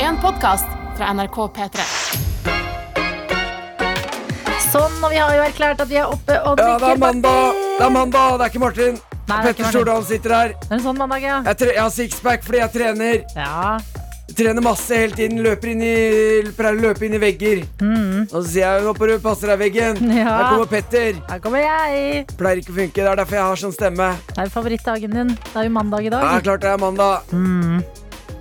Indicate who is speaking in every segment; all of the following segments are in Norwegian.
Speaker 1: en podkast fra NRK P3.
Speaker 2: Sånn, og vi har jo erklært at vi er oppe og
Speaker 3: Ja, det
Speaker 2: drikker
Speaker 3: er mandag! Det er mandag, det er ikke Martin.
Speaker 2: Nei, det er ikke
Speaker 3: Petter
Speaker 2: Martin.
Speaker 3: Stordalen sitter her.
Speaker 2: Det er en sånn mandag, ja.
Speaker 3: Jeg, tre jeg har sixpack fordi jeg trener.
Speaker 2: ja.
Speaker 3: Trener masse hele tiden. Løper inn i, pleier å løpe inn i vegger.
Speaker 2: Hmm.
Speaker 3: Og så sier jeg 'Hopperud, passer deg veggen'.
Speaker 2: Ja.
Speaker 3: Her kommer Petter.
Speaker 2: Her kommer jeg.
Speaker 3: Pleier ikke å funke. Det er derfor jeg har sånn stemme.
Speaker 2: Det er jo favorittdagen din. Det er jo mandag i
Speaker 3: Ja,
Speaker 2: dag. Hmm.
Speaker 3: klart det er mandag.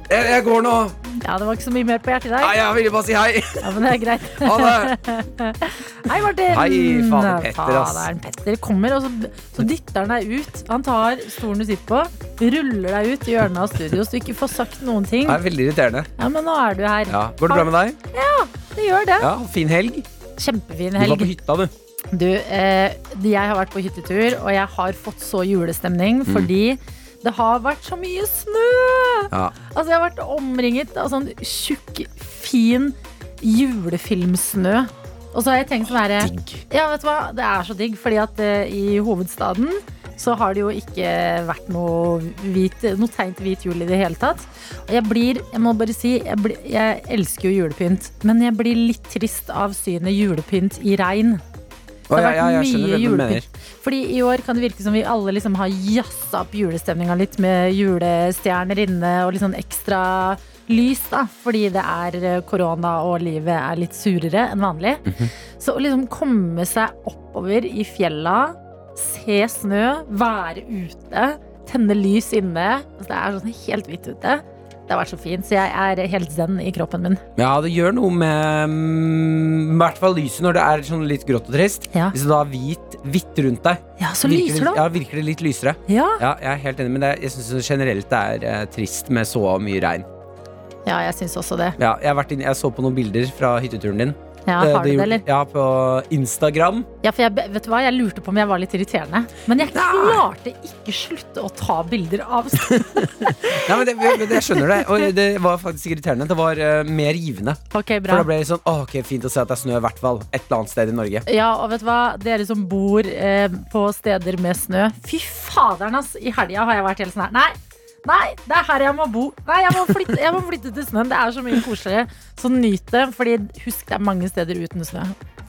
Speaker 3: Jeg, jeg går nå.
Speaker 2: Ja, Det var ikke så mye mer på hjertet i dag.
Speaker 3: Nei, jeg ville bare si hei.
Speaker 2: Ja, men det er greit.
Speaker 3: Ha det.
Speaker 2: Hei, Martin. Hmm.
Speaker 3: Hei, fader, Petter, ass.
Speaker 2: Faderen, Petter kommer, og så, så dytter han deg ut. Han tar stolen du sitter på, ruller deg ut i hjørnet av studio så du ikke får sagt noen ting.
Speaker 3: Det er veldig irriterende.
Speaker 2: Ja, men nå er du her.
Speaker 3: Ja. Går det bra med deg?
Speaker 2: Det gjør det.
Speaker 3: Ja, Fin helg.
Speaker 2: Kjempefin
Speaker 3: Du var
Speaker 2: helg.
Speaker 3: på hytta, du.
Speaker 2: Du, eh, jeg har vært på hyttetur, og jeg har fått så julestemning fordi det har vært så mye snø!
Speaker 3: Ja.
Speaker 2: Altså, jeg har vært omringet av sånn tjukk, fin julefilmsnå. Og så har jeg tenkt sånn herre Ja, vet du hva, det er så digg, fordi at eh, i hovedstaden så har det jo ikke vært noe, hvit, noe tegn til hvit jul i det hele tatt. Og jeg blir, jeg må bare si, jeg, blir, jeg elsker jo julepynt, men jeg blir litt trist av synet julepynt i regn.
Speaker 3: Å,
Speaker 2: Det
Speaker 3: ja,
Speaker 2: har vært
Speaker 3: ja, jeg skjønner
Speaker 2: mye
Speaker 3: hvem du mener.
Speaker 2: julepynt. Fordi i år kan det virke som vi alle liksom har jazza opp julestemninga litt med julestjerner inne og litt sånn ekstra lys, da. Fordi det er eh, korona og livet er litt surere enn vanlig.
Speaker 3: Mhm.
Speaker 2: Så å liksom komme seg oppover i fjella, se snø, være ute, tenne lys inne. Altså, Det er sånn helt hvitt ute. Det har vært så fint, så jeg er helt zen i kroppen min.
Speaker 3: Ja, det gjør noe med mm, I hvert fall lyset når det er sånn litt grått og trist.
Speaker 2: Ja.
Speaker 3: Hvis det da er hvit, hvitt rundt deg,
Speaker 2: Ja, så
Speaker 3: virker
Speaker 2: lyser
Speaker 3: det,
Speaker 2: det opp.
Speaker 3: ja, virker det litt lysere.
Speaker 2: Ja.
Speaker 3: Ja, jeg er helt enig, men det, er- jeg syns generelt det er eh, trist med så mye regn.
Speaker 2: ja, jeg syns også det.
Speaker 3: Ja, jeg, har vært inne- jeg så på noen bilder fra hytteturen din.
Speaker 2: Ja,
Speaker 3: Eh,
Speaker 2: har du det,
Speaker 3: gjorde-
Speaker 2: eller?
Speaker 3: Ja, på Instagram.
Speaker 2: Ja, for jeg, vet du hva? jeg lurte på om jeg var litt irriterende. Men jeg klarte ikke slutte å ta bilder av snø.
Speaker 3: Nei, men det, men det, Jeg skjønner det. Og det var faktisk irriterende. Det var eh, mer givende.
Speaker 2: Ok,
Speaker 3: For
Speaker 2: bra.
Speaker 3: da ble det sånn «Åh, ok, fint å se at det er snø, i hvert fall. Et eller annet sted i Norge.
Speaker 2: Ja, og vet du hva? Dere som bor eh, på steder med snø. Fy faderen, ass! I helga har jeg vært helt sånn her. Nei, nei, det er her jeg må bo. Nei, jeg må flytte, jeg må flytte til snøen. Det er så mye koseligere. Så nyt det. fordi husk, det er mange steder uten snø.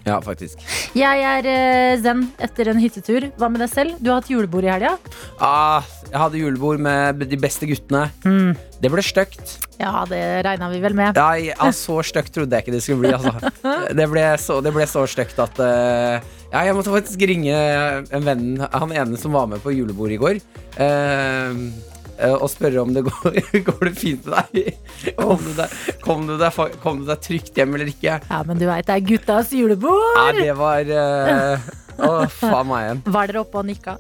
Speaker 3: Ja, faktisk.
Speaker 2: Jeg er eh, zen etter en hyttetur. Hva med deg selv? Du har hatt julebord i helga?
Speaker 3: Ah, jeg hadde julebord med de beste guttene. Det ble stygt.
Speaker 2: Ja, det regna vi vel med.
Speaker 3: Nei, ja, så stygt trodde jeg ikke det skulle bli. Altså. Det ble så, det ble så stygt at eh, ja, Jeg måtte faktisk ringe en venn, han ene som var med på julebordet i går, eh, eh, og spørre om det går, går det fint med deg. Kom du deg, kom, du deg, fa- kom du deg trygt hjem eller ikke?
Speaker 2: Ja, men du veit, det er guttas julebord!
Speaker 3: Nei, det var eh, Å, faen meg igjen.
Speaker 2: Var dere oppe og nikka?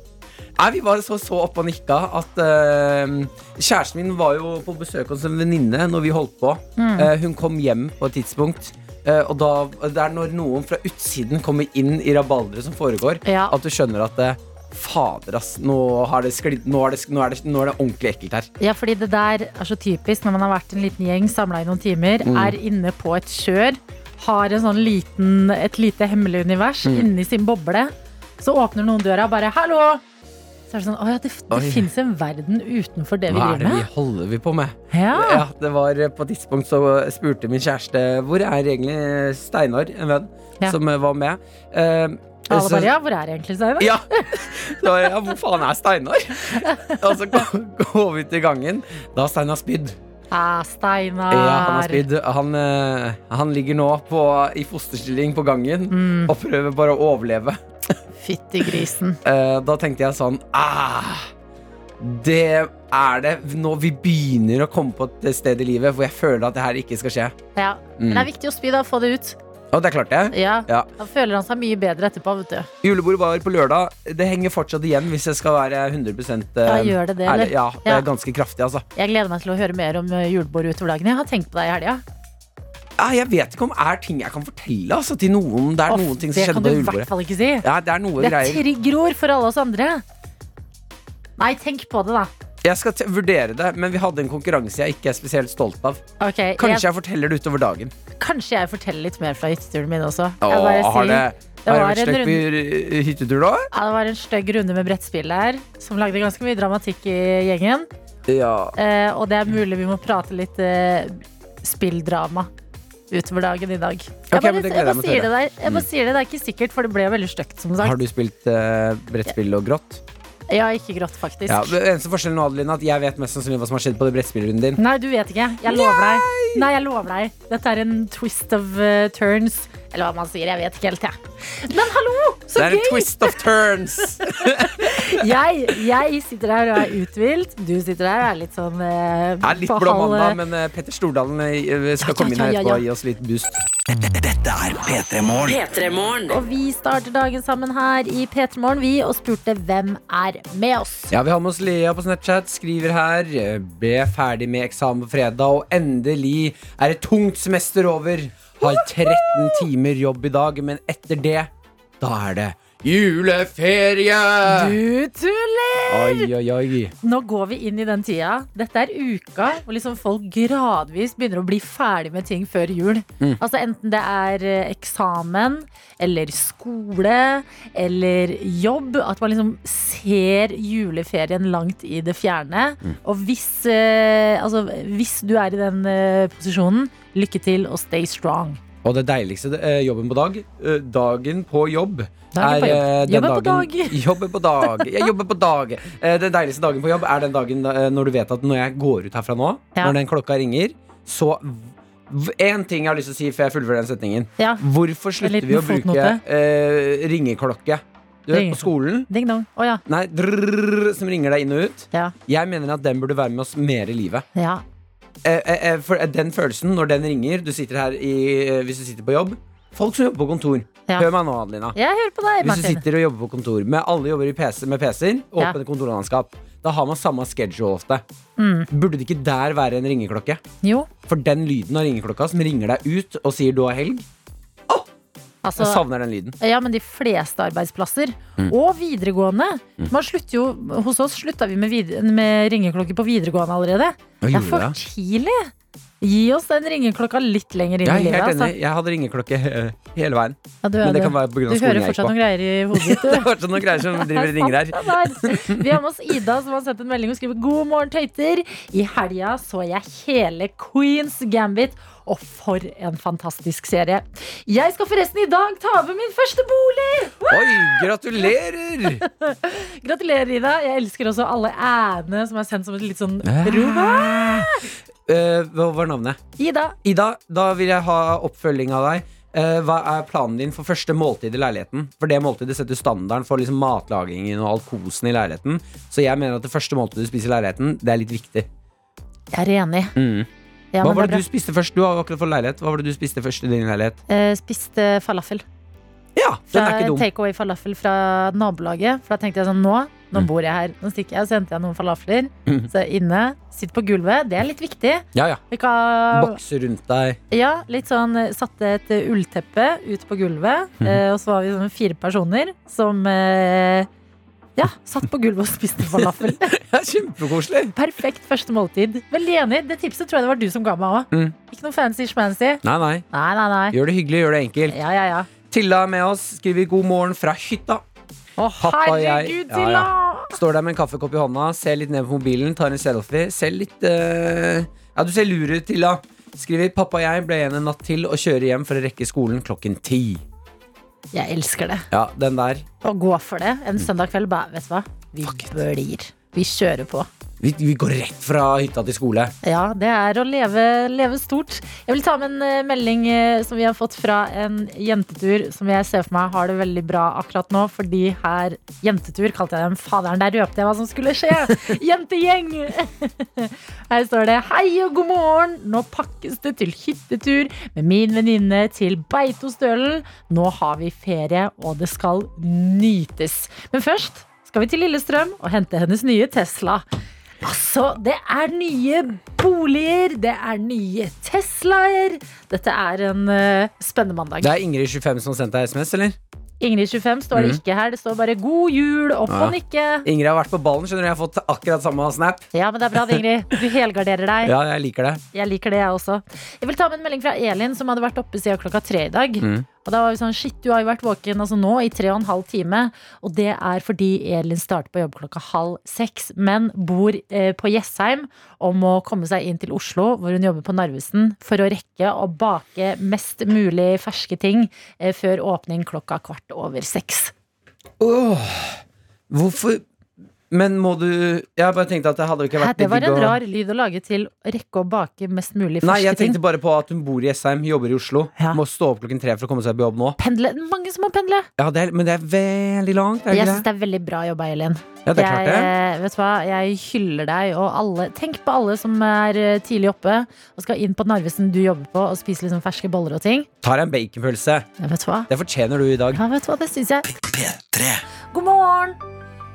Speaker 3: Nei, Vi var så, så oppe og nikka at eh, Kjæresten min var jo på besøk hos en venninne når vi holdt på.
Speaker 2: Mm.
Speaker 3: Eh, hun kom hjem på et tidspunkt. eh, og da, Det er når noen fra utsiden kommer inn i rabalderet som foregår,
Speaker 2: Ja.
Speaker 3: at du skjønner at eh, Fader, ass. Nå, har det sklidd, nå, er det, nå, er det, nå er det ordentlig ekkelt her.
Speaker 2: Ja, fordi det der er så typisk når man har vært en liten gjeng samla i noen timer,
Speaker 3: Mm.
Speaker 2: er inne på et kjør, har en sånn liten, et lite hemmelig univers
Speaker 3: Mm.
Speaker 2: inni sin boble. Så åpner noen døra og bare 'hallo'. Så er det sånn 'å ja, det,
Speaker 3: Oi.
Speaker 2: det fins en verden utenfor det vi Ah.
Speaker 3: Hva er det
Speaker 2: driver
Speaker 3: vi
Speaker 2: med'.
Speaker 3: holder vi på med?
Speaker 2: Ja.
Speaker 3: Ja, det var eh, På et tidspunkt så spurte min kjæreste hvor er egentlig Steinar, en venn,
Speaker 2: Ja.
Speaker 3: som eh, var med. Eh,
Speaker 2: Alle
Speaker 3: så-
Speaker 2: bare 'ja, hvor er egentlig Steinar?'
Speaker 3: Ja. Så var jeg, ja, hvor faen er Steinar? Og så går- går vi ut i gangen. Da har Steinar spydd.
Speaker 2: Ah, Steinar.
Speaker 3: Ja, han har spydd. Han, eh, han ligger nå på, i fosterstilling på gangen
Speaker 2: Mm.
Speaker 3: og prøver bare å overleve.
Speaker 2: Fytti grisen.
Speaker 3: Eh, Da tenkte jeg sånn ah, Det er det nå vi begynner å komme på et sted i livet hvor jeg føler at det her ikke skal skje.
Speaker 2: Ja. Men det er viktig å spy, da. Få det ut.
Speaker 3: Og det klarte jeg.
Speaker 2: Ja.
Speaker 3: Mm. Ja.
Speaker 2: Da føler han seg mye bedre etterpå, vet du.
Speaker 3: Julebordet var på lørdag. Det henger fortsatt igjen, hvis jeg skal være 100 eh,
Speaker 2: Ja, gjør det det, eller?
Speaker 3: ærlig. Ja, det
Speaker 2: Ja.
Speaker 3: er ganske kraftig, altså.
Speaker 2: Jeg gleder meg til å høre mer om eh, julebord utover dagen. Jeg har tenkt på deg i helga.
Speaker 3: Ja, Ah, jeg vet ikke om er ting jeg kan fortelle altså, til noen. Det er
Speaker 2: Off,
Speaker 3: noen ting som
Speaker 2: det
Speaker 3: skjedde
Speaker 2: kan du
Speaker 3: på
Speaker 2: i hvert
Speaker 3: julebordet.
Speaker 2: fall ikke si.
Speaker 3: Ja, det er noe
Speaker 2: Det er
Speaker 3: greier.
Speaker 2: triggerord for alle oss andre. Nei, tenk på det, da.
Speaker 3: Jeg skal t vurdere det, men vi hadde en konkurranse jeg ikke er spesielt stolt av.
Speaker 2: Ok,
Speaker 3: Kanskje
Speaker 2: jeg,
Speaker 3: jeg forteller det utover dagen.
Speaker 2: kanskje jeg forteller litt mer fra hytteturen min også.
Speaker 3: Åh,
Speaker 2: Jeg bare
Speaker 3: har det,
Speaker 2: sier- det
Speaker 3: har det
Speaker 2: var
Speaker 3: vært
Speaker 2: en
Speaker 3: støkk på hy- hyttetur da?
Speaker 2: ja, det var en stygg runde med brettspill der, som lagde ganske mye dramatikk i gjengen.
Speaker 3: Ja.
Speaker 2: Eh, og det er mulig vi må prate litt eh, spilldrama utover dagen i dag. Jeg
Speaker 3: Ok,
Speaker 2: bare,
Speaker 3: men det
Speaker 2: jeg
Speaker 3: gleder jeg
Speaker 2: bare
Speaker 3: meg til å Mm.
Speaker 2: sier det der. Jeg bare sier det, det er ikke sikkert, for det ble veldig stygt, som sagt.
Speaker 3: Har du spilt eh, brettspill og grått?
Speaker 2: Jeg har ikke grått, faktisk.
Speaker 3: Ja, det eneste forskjellen nå, Adeline, er at jeg vet mest sannsynlig hva som har skjedd på det brettspillrunden din.
Speaker 2: Nei, du vet ikke. Jeg lover deg. Nei, jeg lover deg. Dette er en twist of eh, turns. Eller hva man sier. Jeg vet ikke helt, jeg. Men hallo,
Speaker 3: Det
Speaker 2: så
Speaker 3: er en
Speaker 2: gøy!
Speaker 3: twist of turns!
Speaker 2: Jeg, jeg sitter her og er uthvilt. Du sitter her og er litt sånn eh,
Speaker 3: Det er litt
Speaker 2: på
Speaker 3: blå
Speaker 2: halv, eh,
Speaker 3: mandag, men eh, Petter Stordalen eh, skal
Speaker 2: Ja,
Speaker 3: komme inn
Speaker 2: ja,
Speaker 3: her
Speaker 2: ja, ja.
Speaker 3: etterpå og gi oss litt boost.
Speaker 4: P3-morgen.
Speaker 2: Og vi starter dagen sammen her i P3 Morgen, vi, og spurte hvem er med oss.
Speaker 3: Ja, Vi har med oss Lea på Snapchat. Skriver her. eh, Ble ferdig med eksamen på fredag, og endelig er et tungt semester over. Har 13 timer jobb i dag, men etter det, da er det juleferie!
Speaker 2: Du tuller!
Speaker 3: Oi, oi, oi.
Speaker 2: Nå går vi inn i den tida. Dette er uka hvor liksom folk gradvis begynner å bli ferdig med ting før jul.
Speaker 3: Mm.
Speaker 2: Altså Enten det er eh, eksamen eller skole eller jobb. At man liksom ser juleferien langt i det fjerne.
Speaker 3: Mm.
Speaker 2: Og hvis, eh, altså, hvis du er i den eh, posisjonen, lykke til og stay strong.
Speaker 3: Og det deiligste eh, jobben på dag eh, Dagen på jobb
Speaker 2: Dagen på jobb.
Speaker 3: er, eh, den
Speaker 2: Jobben på
Speaker 3: dagen- Jobben på dag Jeg jobber på dag Eh, Den deiligste dagen på jobb er den dagen eh, Når du vet at når jeg går ut herfra nå
Speaker 2: Ja.
Speaker 3: Når den klokka ringer Så v- en ting jeg har lyst til å si Før jeg fullfører den setningen
Speaker 2: Ja,
Speaker 3: Hvorfor slutter
Speaker 2: liten
Speaker 3: vi å bruke
Speaker 2: fotnote.
Speaker 3: eh, ringeklokke Du vet
Speaker 2: Ringe-
Speaker 3: på skolen
Speaker 2: Ding dong. Å ja.
Speaker 3: Nei, drrrr, som ringer deg inn og ut
Speaker 2: Ja.
Speaker 3: Jeg mener at den burde være med oss mer i livet
Speaker 2: ja.
Speaker 3: Eh, eh, eh, for eh, den følelsen når den ringer Du sitter her i, eh, hvis du sitter på jobb Folk som jobber på kontor
Speaker 2: Ja.
Speaker 3: Hør meg nå, Adelina
Speaker 2: Jeg hører på deg,
Speaker 3: Hvis du
Speaker 2: Martin.
Speaker 3: sitter og jobber på kontor Med alle jobber i PC, med PC-er
Speaker 2: Ja.
Speaker 3: Åpne kontorlandskap Da har man samme schedule ofte
Speaker 2: Mm.
Speaker 3: Burde det ikke der være en ringeklokke?
Speaker 2: Jo,
Speaker 3: For den lyden av ringeklokka som ringer deg ut Og sier du har helg Jeg
Speaker 2: altså
Speaker 3: savner den lyden
Speaker 2: Ja, men de fleste arbeidsplasser.
Speaker 3: Mm.
Speaker 2: Og videregående. Man slutter jo, hos oss slutta vi med, vide- med ringeklokke på videregående allerede. Det er for tidlig. Gi oss den ringeklokka litt lenger inn i
Speaker 3: Jeg er
Speaker 2: livet.
Speaker 3: helt
Speaker 2: Altså.
Speaker 3: enig Jeg hadde ringeklokke eh, hele veien
Speaker 2: Ja, du, er
Speaker 3: Men det
Speaker 2: det.
Speaker 3: kan være på grunn av
Speaker 2: du hører
Speaker 3: skolen jeg gikk
Speaker 2: fortsatt
Speaker 3: på
Speaker 2: noen greier i hodet ditt.
Speaker 3: Det
Speaker 2: du.
Speaker 3: var sånn noen greier som driver og ringer her
Speaker 2: Ja, der. Vi har med oss Ida, som har sendt en melding og skriver God morgen, tøyter. I helga så jeg hele Queens Gambit, og for en fantastisk serie. Jeg skal forresten i dag ta over min første bolig!
Speaker 3: Oi, gratulerer
Speaker 2: Gratulerer, Ida. Jeg elsker også alle æene som er sendt som et litt sånn rop.
Speaker 3: Ah. Eh, Hva var navnet?
Speaker 2: Ida,
Speaker 3: Ida, da vil jeg ha oppfølging av deg. Eh, hva er planen din for første måltid i leiligheten? For det måltidet setter standarden for liksom matlagingen og all kosen i leiligheten. Så jeg mener at det første måltidet du spiser i leiligheten, det er litt viktig.
Speaker 2: jeg er enig. Ja,
Speaker 3: Mm. hva
Speaker 2: men
Speaker 3: var
Speaker 2: det
Speaker 3: det
Speaker 2: er
Speaker 3: du spiste først? Du har jo akkurat fått leilighet. Hva var det du spiste først i din leilighet?
Speaker 2: bra. Eh, spiste falafel.
Speaker 3: Ja, den er
Speaker 2: Fra
Speaker 3: ikke dum.
Speaker 2: Takeaway falafel fra nabolaget. For da tenkte jeg sånn, nå, nå
Speaker 3: Mm.
Speaker 2: bor jeg her. Nå stikker jeg, så henter jeg noen falafler.
Speaker 3: Mhm.
Speaker 2: Så inne, sitt på gulvet. Det er litt viktig.
Speaker 3: Ja, ja.
Speaker 2: Vi kan,
Speaker 3: Bokse rundt deg.
Speaker 2: ja, litt sånn, eh, satte et eh, ullteppe ut på gulvet.
Speaker 3: Mm.
Speaker 2: eh, Og så var vi sånn fire personer som... eh, Ja, satt på gulvet og spiste falafel
Speaker 3: Ja, Kjempekoselig.
Speaker 2: Perfekt første måltid. Veldig enig. Det tipset tror jeg det var du som ga meg òg.
Speaker 3: Mm.
Speaker 2: Ikke noe fancy schmancy.
Speaker 3: Nei, nei.
Speaker 2: Nei, nei, nei.
Speaker 3: Gjør det hyggelig, gjør det enkelt.
Speaker 2: Ja, ja, ja.
Speaker 3: Tilla er med oss. Skriver 'God morgen fra hytta'.
Speaker 2: Å,
Speaker 3: Pappa og jeg-
Speaker 2: herregud,
Speaker 3: Ja,
Speaker 2: Tilla!
Speaker 3: Står der med en kaffekopp i hånda, ser litt ned på mobilen, tar en selfie. Ser litt eh, Ja, du ser lur ut, Tilla. Skriver 'Pappa og jeg ble igjen en natt til og kjører hjem for å rekke skolen klokken ti'.
Speaker 2: Jeg elsker det.
Speaker 3: Ja, den der.
Speaker 2: Å gå for det
Speaker 3: Mm.
Speaker 2: en søndag kveld, bare, vet du hva? Vi blir. Vi kjører på.
Speaker 3: Vi, vi går rett fra hytta til skole.
Speaker 2: Ja, det er å leve, leve stort. Jeg vil ta med en eh, melding eh, som vi har fått fra en jentetur som jeg ser for meg har det veldig bra akkurat nå, fordi her Jentetur kalte jeg dem. Faderen, der røpte jeg hva som skulle skje! Jentegjeng! Her står det Hei og god morgen! Nå pakkes det til hyttetur med min venninne til Beitostølen. Nå har vi ferie, og det skal nytes. Men først skal vi til Lillestrøm og hente hennes nye Tesla. Altså, det er nye boliger, det er nye Teslaer. Dette er en eh, spennende mandag.
Speaker 3: Det er Ingrid 25 som har sendt deg SMS, eller?
Speaker 2: Ingrid 25 står det ikke her, det står bare 'god jul', opp
Speaker 3: Ja.
Speaker 2: og nikke.
Speaker 3: Ingrid har vært på ballen, skjønner du. Jeg har fått akkurat samme snap.
Speaker 2: Ja, men det er bra, det, Ingrid. Du helgarderer deg.
Speaker 3: Ja, jeg liker det. Mm.
Speaker 2: Jeg liker det, jeg også. Jeg vil ta med en melding fra Elin, som hadde vært oppe siden klokka tre i dag. Og da var vi sånn Shit, du har jo vært våken altså nå i tre og en halv time. Og det er fordi Elin starter på jobb klokka halv seks, men bor eh, på Jessheim og må komme seg inn til Oslo, hvor hun jobber på Narvesen, for å rekke å bake mest mulig ferske ting eh, før åpning klokka kvart over seks.
Speaker 3: Åh, hvorfor Men må du Jeg bare tenkte at det hadde ikke
Speaker 2: Hæ,
Speaker 3: vært
Speaker 2: Det var
Speaker 3: digg
Speaker 2: en
Speaker 3: å-
Speaker 2: rar lyd å lage til å rekke å bake mest mulig ferske
Speaker 3: Nei, jeg
Speaker 2: ting.
Speaker 3: tenkte bare på at hun bor i Jessheim, jobber i Oslo.
Speaker 2: Ja.
Speaker 3: Må stå opp klokken tre for å komme seg på jobb nå.
Speaker 2: Pendle. Mange som må pendle.
Speaker 3: Ja, det er, Men det er veldig langt. Er det
Speaker 2: Jeg
Speaker 3: ikke
Speaker 2: syns
Speaker 3: det?
Speaker 2: det er veldig bra jobba, Elin.
Speaker 3: Ja, det er klart det.
Speaker 2: Jeg, eh, vet du hva, jeg hyller deg og alle Tenk på alle som er eh, tidlig oppe og skal inn på Narvesen du jobber på og spise liksom ferske boller og ting.
Speaker 3: Tar deg en baconpølse.
Speaker 2: Ja, vet du hva?
Speaker 3: Det fortjener du i dag.
Speaker 2: Ja, vet du hva, det syns jeg. God morgen!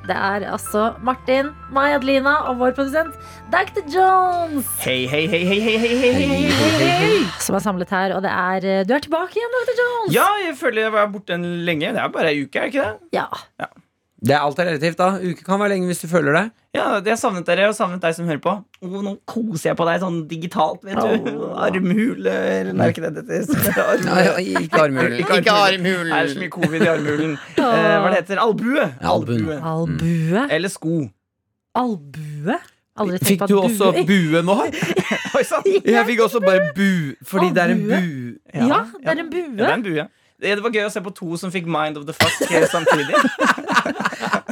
Speaker 2: Det er altså Martin, meg, Adelina og vår produsent Dr. Jones
Speaker 4: Hei, hei, hei, hei, hei, hei, hei, hei, hei, hei, hei.
Speaker 2: som er samlet her. Og det er eh, Du er tilbake igjen, Dr. Jones!
Speaker 4: Ja, jeg føler jeg var borte en lenge. Det er bare ei uke, er det ikke det?
Speaker 2: Ja.
Speaker 3: Det er alt er relativt, da. Uke kan være lenge hvis du føler det.
Speaker 4: Ja, Jeg savnet dere og savnet deg som hører på. Oh, nå koser jeg på deg sånn digitalt, vet du. Armhuler Nei, er ikke det dette heter? Armhule.
Speaker 3: Ikke armhulen.
Speaker 4: Ikke armhulen. Det er så mye covid i armhulen. Eh, hva det heter Albue.
Speaker 3: Albuen.
Speaker 2: Albue.
Speaker 4: Eller sko.
Speaker 2: Albue? Aldri tenkt
Speaker 3: Mm. Fikk
Speaker 2: på at
Speaker 3: du også bue nå?
Speaker 4: Oi sann.
Speaker 3: Jeg fikk også bare bu, fordi det er en bu.
Speaker 2: Ja, det er en bue.
Speaker 4: Ja, det er en bue. Det det var gøy å se på to som fikk Mind of the Fuck eh, samtidig.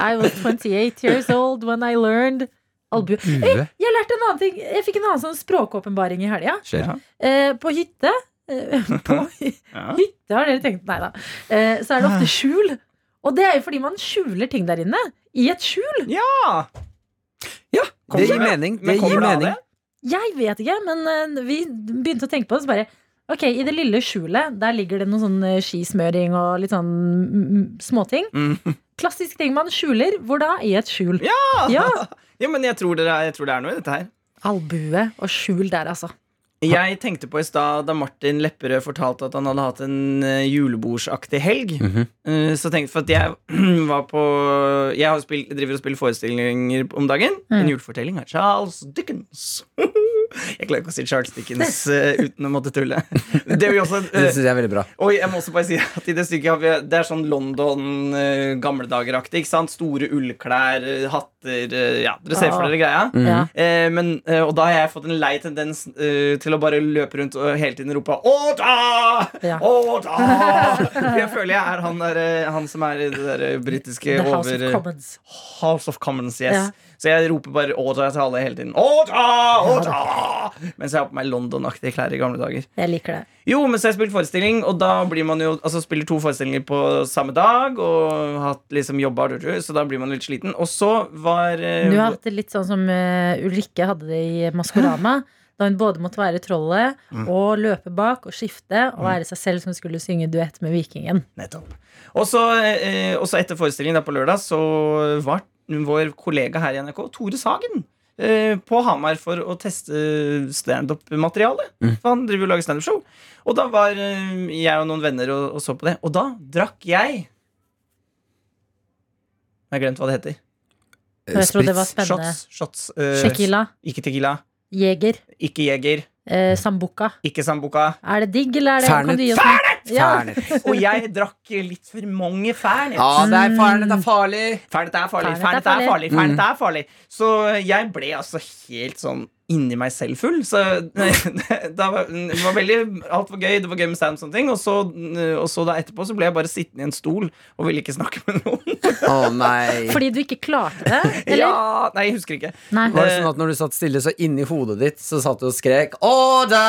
Speaker 2: I was 28 years old when I
Speaker 3: Mm.
Speaker 2: learned albu.
Speaker 3: Bue?
Speaker 2: Jeg lærte en annen ting. Jeg fikk en annen sånn språkåpenbaring i helga.
Speaker 3: Skjer.
Speaker 2: Eh, på hytte eh, På hy-
Speaker 4: Ja.
Speaker 2: hytte, har dere tenkt? Nei da. Eh, så er det ofte skjul. Og det er jo fordi man skjuler ting der inne. I et skjul.
Speaker 4: Ja.
Speaker 3: Ja, det gir mening. Det
Speaker 4: Men kommer
Speaker 3: gir
Speaker 4: det av
Speaker 3: mening.
Speaker 4: det?
Speaker 2: Jeg vet ikke, men eh, vi begynte å tenke på det, så bare Ok, I det lille skjulet der ligger det noe sånn eh, skismøring og litt sånn mm, mm, småting.
Speaker 4: Mm.
Speaker 2: Klassisk ting man skjuler. Hvor da? I et skjul.
Speaker 4: Ja.
Speaker 2: Ja.
Speaker 4: Ja, men jeg tror, dere, jeg tror det er noe i dette her.
Speaker 2: Albue og skjul der, altså.
Speaker 4: Jeg tenkte på i stad da Martin Lepperød fortalte at han hadde hatt en eh, julebordsaktig helg.
Speaker 3: Mhm.
Speaker 4: Eh, Så tenkte For at jeg var på Jeg har spill, driver og spiller forestillinger om dagen. En julefortelling av Charles Dickens. Jeg klarer ikke å si Charles Dickens eh, uten å måtte tulle. Det er jo også
Speaker 3: Det
Speaker 4: eh,
Speaker 3: syns jeg er veldig bra.
Speaker 4: og jeg må også bare si at i det stykket har vi, Det er sånn London eh, gamle dager-aktig. ikke sant? Store ullklær, eh, hatter eh, Ja, dere ser for dere greia.
Speaker 2: Ah. Mm. Ja.
Speaker 4: Eh, men, eh, og da har jeg fått en lei tendens eh, til å bare løpe rundt og hele tiden rope Å da!
Speaker 2: Ja.
Speaker 4: Å da! For jeg føler jeg er han, der, eh, han som er i det der eh, britiske
Speaker 2: The House
Speaker 4: over eh,
Speaker 2: of Commons.
Speaker 4: House of Commons, yes.
Speaker 2: Ja.
Speaker 4: Så jeg roper bare Å da til alle hele tiden. Å da! Å da! Mens jeg har på meg London-aktige klær i gamle dager.
Speaker 2: Jeg liker det.
Speaker 4: Jo, men så har jeg spilt forestilling, og da blir man jo Altså spiller to forestillinger på samme dag, og hatt liksom jobba, så da blir man litt sliten. Og så var eh,
Speaker 2: Du har hatt det litt sånn som eh, Ulrikke hadde det i Maskorama. Da hun både måtte være trollet
Speaker 4: Mm.
Speaker 2: og løpe bak og skifte og være seg selv som skulle synge duett med vikingen.
Speaker 4: Nettopp. Og så eh, og så etter forestillingen da på lørdag så var vår kollega her i NRK, Tore Sagen, eh, på Hamar for å teste standup-materiale.
Speaker 2: Mm.
Speaker 4: For han driver og lager standup-show. Og da var eh, jeg og noen venner og, og så på det. Og da drakk jeg Jeg har glemt hva det heter.
Speaker 2: Og jeg trodde det var
Speaker 3: Spritz.
Speaker 2: spennende.
Speaker 4: Eh, Shots. shots eh,
Speaker 2: Tequila,
Speaker 4: Ikke tequila.
Speaker 2: Jeger,
Speaker 4: Ikke jeger.
Speaker 2: eh, Sambuca.
Speaker 4: Ikke sambuca.
Speaker 2: Er det digg, eller er det
Speaker 3: Fernet.
Speaker 2: Kan du gi oss noe? Ja.
Speaker 3: Fernet.
Speaker 4: Og jeg drakk litt for mange Fernet.
Speaker 3: Ja, det er Fernet er farlig.
Speaker 4: Fernet er farlig,
Speaker 2: Fernet er
Speaker 4: fernet er farlig,
Speaker 2: farlig.
Speaker 4: fernet er farlig. Så jeg ble altså helt sånn inni meg selv full. Så da var, det var veldig, alt var gøy, det var gøy med stand og sånne ting. Og så, og så da etterpå så ble jeg bare sittende i en stol og ville ikke snakke med noen.
Speaker 3: Å nei.
Speaker 2: Fordi du ikke klarte det? Eller?
Speaker 4: Ja, nei, jeg husker ikke.
Speaker 2: Nei.
Speaker 3: Var
Speaker 4: Eh,
Speaker 3: det sånn at når du satt stille, så inni hodet ditt så satt du og skrek 'Åda!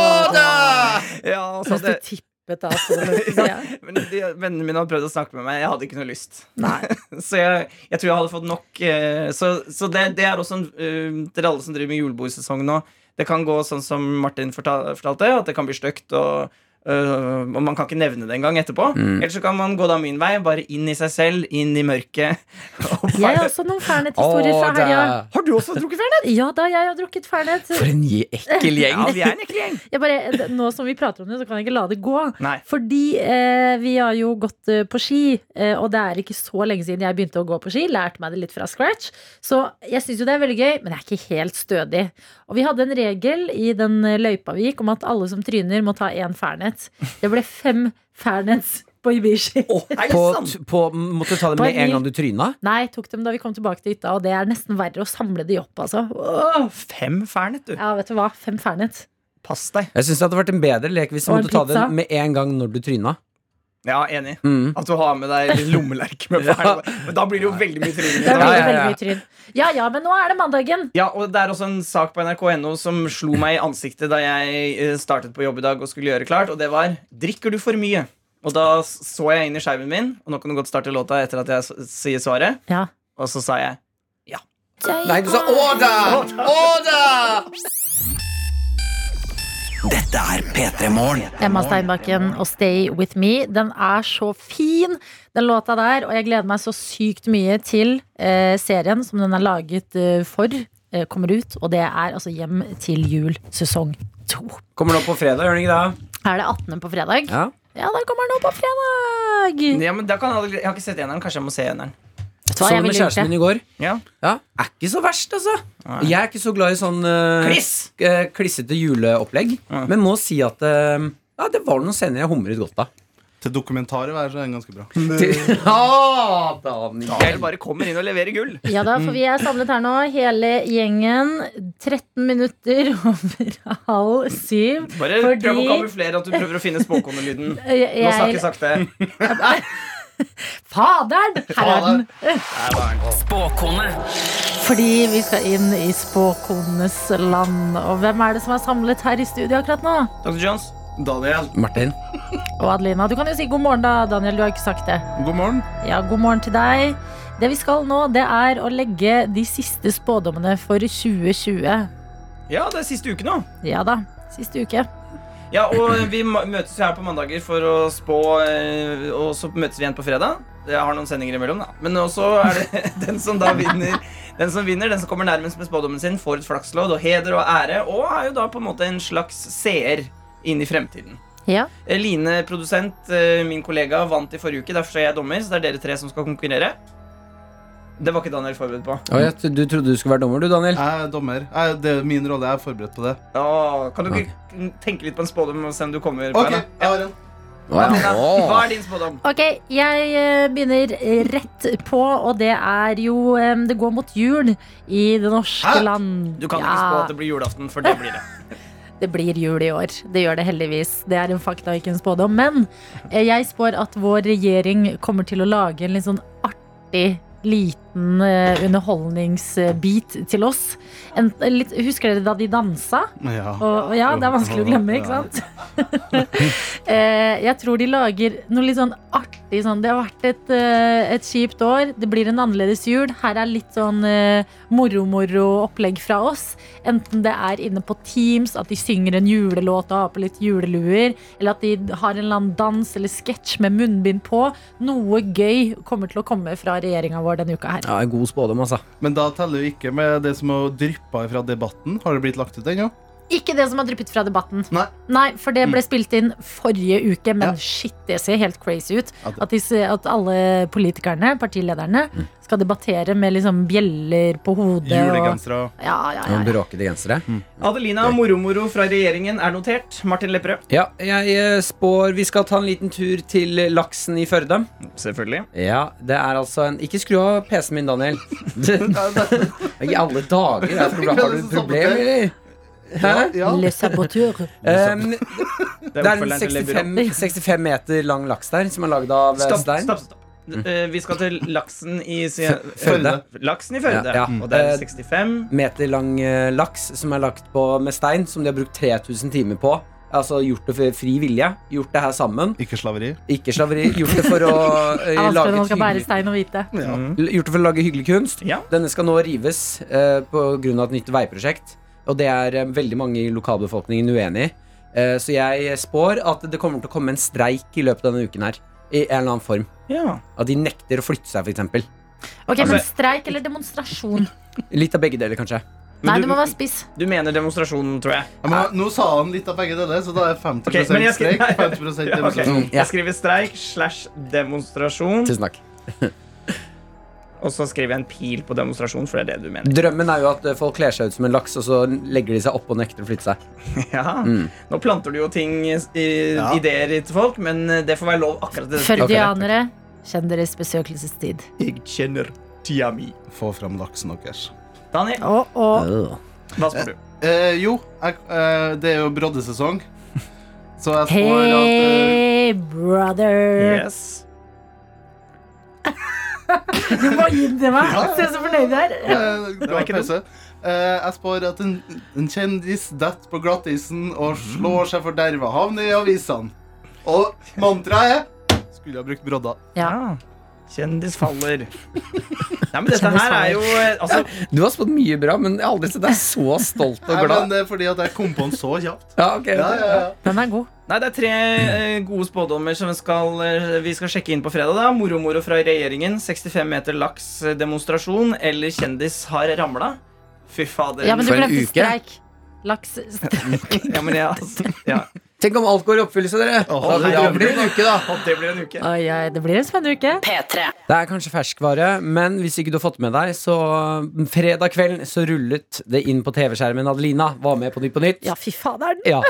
Speaker 3: Åda!'
Speaker 4: Ja, og så
Speaker 2: Syns du
Speaker 4: det,
Speaker 2: tippet av stolen? Ja.
Speaker 4: men de, vennene mine hadde prøvd å snakke med meg, jeg hadde ikke noe lyst.
Speaker 2: Nei.
Speaker 4: Så jeg, jeg tror jeg hadde fått nok eh, Så, så det, det er også en, eh, Til alle som driver med julebordsesong nå Det kan gå sånn som Martin fortal, fortalte At det kan bli støkt og, eh, og man kan ikke nevne det en gang etterpå Ellers så kan man gå da min vei Bare inn i seg selv, inn i mørket og
Speaker 2: Jeg har
Speaker 4: bare-
Speaker 2: også noen Fernet-historier fra helga.
Speaker 3: Åda.
Speaker 4: Har du også drukket fernet?
Speaker 2: Ja da, jeg har drukket Fernet.
Speaker 3: For en gi- ekkel gjeng.
Speaker 4: Ja, vi er en ekkel gjeng
Speaker 2: jeg bare, det- nå som vi prater om det, så kan jeg ikke la det gå.
Speaker 4: Nei.
Speaker 2: Fordi eh, vi har jo gått eh, på ski, eh, og det er ikke så lenge siden jeg begynte å gå på ski. Lærte meg det litt fra scratch. Så jeg syns jo det er veldig gøy, men jeg er ikke helt stødig. Og vi hadde en regel i den eh, løypa vi gikk, om at alle som tryner, må ta én fernet. Fairnets. Det ble fem Fairnets på Ibishi.
Speaker 4: er
Speaker 3: På,
Speaker 4: det sant?
Speaker 3: t- på, måtte du ta det
Speaker 2: På en
Speaker 3: med
Speaker 2: ny-
Speaker 3: en gang du tryna?
Speaker 2: Nei, tok dem da vi kom tilbake til hytta, og det er nesten verre å samle de opp, altså. Åh.
Speaker 4: Fem fernet, du.
Speaker 2: Ja, vet du hva? Fem Fairnets.
Speaker 4: Pass deg.
Speaker 3: Jeg syns det hadde vært en bedre lek hvis du
Speaker 2: Og en
Speaker 3: måtte ta det
Speaker 2: pizza.
Speaker 3: med en gang når du tryna.
Speaker 4: Ja, enig.
Speaker 3: Mm.
Speaker 4: At du har med deg lommelerke med fernet. Men da blir det jo veldig mye
Speaker 2: Da blir
Speaker 4: tryggere.
Speaker 2: det
Speaker 3: ja, ja.
Speaker 2: veldig mye tryn. Ja ja, men nå er det mandagen.
Speaker 4: Ja, og Det er også en sak på nrk.no som slo meg i ansiktet da jeg eh, startet på jobb i dag og skulle gjøre klart, og det var Drikker du for mye? Og da s- så jeg inn i skjermen min, og nå kan du godt starte låta etter at jeg s- sier svaret,
Speaker 2: Ja.
Speaker 4: og så sa jeg
Speaker 3: Nei, du sa order! Order!
Speaker 5: Dette er P3 Morgen.
Speaker 2: Emma Steinbakken og Stay With Me. Den er så fin, den låta der. Og jeg gleder meg så sykt mye til eh, serien som den er laget eh, for, eh, kommer ut. Og det er altså Hjem til jul sesong to.
Speaker 3: Kommer nå på fredag, gjør den ikke det?
Speaker 2: Er det 18. på fredag?
Speaker 3: Ja.
Speaker 2: Ja, den kommer nå på fredag!
Speaker 4: Ja, men da kan jeg, aldri- jeg har ikke sett eneren, kanskje jeg må se eneren.
Speaker 2: Vet du
Speaker 3: Så
Speaker 2: hva, jeg
Speaker 3: den med
Speaker 2: ville gjort
Speaker 3: kjæresten
Speaker 2: det.
Speaker 3: min i går.
Speaker 4: Ja.
Speaker 3: Ja, Er ikke så verst, altså. Og Jeg er ikke så glad i sånn eh,
Speaker 4: Kliss!
Speaker 3: eh, klissete juleopplegg.
Speaker 4: Ja.
Speaker 3: Men må si at eh, ja, det var noen scener jeg humret godt av.
Speaker 6: Til dokumentarer er den ganske bra.
Speaker 3: Ja, Daniel.
Speaker 4: Jeg bare kommer inn og leverer gull.
Speaker 2: Ja da, for vi er samlet her nå, hele gjengen. 13 minutter over halv syv.
Speaker 4: Bare
Speaker 2: Fordi-
Speaker 4: prøv å kamuflere at du prøver å finne spåkonnelyden.
Speaker 2: Jeg,
Speaker 4: Nå
Speaker 2: jeg,
Speaker 4: snakker jeg sakte.
Speaker 2: faderen! Her er den!
Speaker 5: Spåkone.
Speaker 2: Fordi vi skal inn i spåkonenes land. Og hvem er det som er samlet her i studio akkurat nå?
Speaker 4: Dr. Jones,
Speaker 6: Daniel,
Speaker 3: Martin.
Speaker 2: Og Adelina. Du kan jo si god morgen, da, Daniel. Du har ikke sagt det.
Speaker 6: god morgen.
Speaker 2: Ja, god morgen til deg. Det vi skal nå, det er å legge de siste spådommene for 2020.
Speaker 4: ja, det er siste uke nå.
Speaker 2: Ja da. Siste uke.
Speaker 4: Ja, og vi ma- møtes jo her på mandager for å spå, eh, og så møtes vi igjen på fredag. Jeg har noen sendinger imellom, da. Men også er det den som da vinner. Den som vinner, den som kommer nærmest med spådommen sin, får et flakslodd og heder og ære, og er jo da på en måte en slags seer inn i fremtiden.
Speaker 2: Ja.
Speaker 4: Eh, Line, produsent, eh, min kollega, vant i forrige uke, derfor er jeg dommer, så det er dere tre som skal konkurrere. Det var ikke Daniel forberedt på.
Speaker 3: Å, jeg, tro- du trodde du skulle være dommer, du, Daniel.
Speaker 6: Jeg er dommer. Jeg, det er min rolle. Jeg er forberedt på det.
Speaker 4: Åh, kan du ikke tenke litt på en spådom og se om du kommer på
Speaker 6: Ok,
Speaker 4: en?
Speaker 6: jeg har en.
Speaker 4: da? Hva
Speaker 3: Å.
Speaker 4: er din spådom?
Speaker 2: Ok, jeg eh, begynner rett på, og det er jo eh, Det går mot jul i det norske
Speaker 6: Hæ?
Speaker 2: land.
Speaker 4: Du kan
Speaker 2: Ja.
Speaker 4: ikke spå at det blir julaften, for det blir det.
Speaker 2: Det blir jul i år. Det gjør det heldigvis. Det er en fakta, ikke en spådom. Men eh, jeg spår at vår regjering kommer til å lage en litt sånn artig liten eh, underholdningsbit til oss. En, eh, litt, husker dere da de dansa?
Speaker 6: Ja.
Speaker 2: Og, og ja, det er vanskelig å glemme, ikke sant? Eh, jeg tror de lager noe litt sånn artig sånn. Det har vært et, eh, et kjipt år. Det blir en annerledes jul. Her er litt sånn eh, moro-moro opplegg fra oss. Enten det er inne på Teams, at de synger en julelåt og har på litt juleluer, eller at de har en eller annen dans eller sketsj med munnbind på. Noe gøy kommer til å komme fra regjeringa vår denne uka her.
Speaker 3: Ja, en god spådom, altså.
Speaker 6: Men da teller jo ikke med det som har dryppa fra debatten. Har det blitt lagt ut ennå?
Speaker 2: Ikke det som har dryppet fra debatten.
Speaker 6: Nei.
Speaker 2: for det ble spilt inn forrige uke, men
Speaker 6: Ja.
Speaker 2: shit, det ser helt crazy ut.
Speaker 6: Ja, det-
Speaker 2: At, de, ser- at alle politikerne, partilederne, skal debattere med liksom bjeller på hodet. og-
Speaker 6: Julegensere.
Speaker 2: Ja, ja, ja, ja.
Speaker 3: Bråkete gensere.
Speaker 4: Adelina Moromoro fra regjeringen er notert. Martin Lepperød.
Speaker 3: Ja, jeg eh, spår vi skal ta en liten tur til Laksen i Førde.
Speaker 4: Selvfølgelig.
Speaker 3: Ja, det er altså en Ikke skru av PC-en min, Daniel. I alle dager! Jeg tror, har du et problem, eller? Hæ?
Speaker 6: Ja.
Speaker 2: Le saboteur.
Speaker 3: Um,
Speaker 4: Det
Speaker 3: det er en 65, 65 meter lang laks der, som er lagd av eh,
Speaker 4: Stopp,
Speaker 3: stein.
Speaker 4: stopp, stopp.
Speaker 3: Mm.
Speaker 4: Eh, Vi skal til laksen i si-
Speaker 6: Førde.
Speaker 4: Laksen i Førde.
Speaker 3: Ja, ja.
Speaker 4: Og det
Speaker 3: Eh,
Speaker 4: er 65.
Speaker 3: Meter lang eh, laks som er lagt på med stein, som de har brukt 3000 timer på. Altså gjort det for fri vilje. Gjort det her sammen.
Speaker 6: Ikke slaveri.
Speaker 3: Ikke slaveri. Gjort det for å eh,
Speaker 2: Det er vanskelig når
Speaker 3: lage
Speaker 2: man
Speaker 3: et
Speaker 2: altså, skal bære
Speaker 3: hyggelig
Speaker 2: stein og hvite.
Speaker 3: L- Gjort det for å lage hyggelig kunst.
Speaker 4: Ja.
Speaker 3: Denne skal nå rives eh, pga. et nytt veiprosjekt. Og det er eh, veldig mange i lokalbefolkningen uenig i. Eh, så jeg spår at det kommer til å komme en streik i løpet av denne uken her. I en eller annen form.
Speaker 4: Ja.
Speaker 3: At de nekter å flytte seg, f.eks.
Speaker 2: Ok,
Speaker 4: Altså-
Speaker 2: Men streik eller demonstrasjon?
Speaker 3: Litt av begge deler, kanskje.
Speaker 2: Nei,
Speaker 4: Men
Speaker 2: du
Speaker 4: du,
Speaker 2: må være spiss.
Speaker 4: du mener demonstrasjonen, tror jeg.
Speaker 6: Ja, men, nå sa han litt av begge deler, så da er 50
Speaker 4: Ok, men jeg skal-
Speaker 6: streik. 50
Speaker 4: Ja, ok.
Speaker 6: demonstrasjon.
Speaker 3: Ja.
Speaker 4: Jeg skriver streik slash demonstrasjon.
Speaker 3: Tusen takk.
Speaker 4: Og så skriver jeg en pil på demonstrasjon, for det er det du mener.
Speaker 3: Drømmen er jo at eh, folk kler seg ut som en laks, og så legger de seg opp og nekter å flytte seg.
Speaker 4: Ja. Nå planter du jo ting, i,
Speaker 6: Ja.
Speaker 4: ideer til folk, men eh, det får være lov akkurat til dette.
Speaker 2: Førdianere, kjenn deres besøkelsestid.
Speaker 4: Jeg kjenner tida mi.
Speaker 6: Få fram laksen deres.
Speaker 4: Daniel,
Speaker 2: Og, og
Speaker 4: hva spør du?
Speaker 6: Eh, jo, jeg, eh, det er jo broddesesong. Så jeg spår eh, at
Speaker 2: Hey, brother!
Speaker 4: Yes.
Speaker 2: Du må innrømme meg!
Speaker 6: Ja.
Speaker 2: Se så fornøyd du er.
Speaker 6: eh, det var
Speaker 4: ikke
Speaker 6: pause. Eh, jeg spår at en, en kjendis detter på glattisen og slår seg forderva. Havner i avisene. Og mantraet er Skulle ha brukt brodda.
Speaker 2: Ja.
Speaker 4: Ja. Kjendis faller. Nei, men dette her er jo eh, altså,
Speaker 3: Du har spådd mye bra, men jeg har aldri sett deg så stolt og
Speaker 6: Nei, men
Speaker 3: glad.
Speaker 6: det er fordi at jeg kom på den så kjapt.
Speaker 3: Ja, ok
Speaker 6: Ja, ja, ja.
Speaker 2: Den er god.
Speaker 4: Nei, det er tre eh, gode spådommer som skal, eh, vi skal sjekke inn på fredag. da Moro-moro fra regjeringen. 65 meter laks eh, demonstrasjon. Eller kjendis har ramla. Fy fader.
Speaker 2: Ja, men du
Speaker 3: For en
Speaker 2: glemte
Speaker 3: uke.
Speaker 2: streik. Laks
Speaker 4: Ja, men jeg, altså, ja.
Speaker 3: Tenk om alt går i oppfyllelse, dere!
Speaker 6: Å,
Speaker 3: Da-
Speaker 4: herregud.
Speaker 3: da blir det en uke, da.
Speaker 4: Og det blir en uke.
Speaker 2: Oi, oi, det blir en spennende uke.
Speaker 5: P3.
Speaker 3: Det er kanskje ferskvare, men hvis ikke du har fått med deg, så um, fredag kveld så rullet det inn på TV-skjermen. Adelina var med på Nytt på Nytt.
Speaker 2: Ja, fy faderen.
Speaker 3: Ja.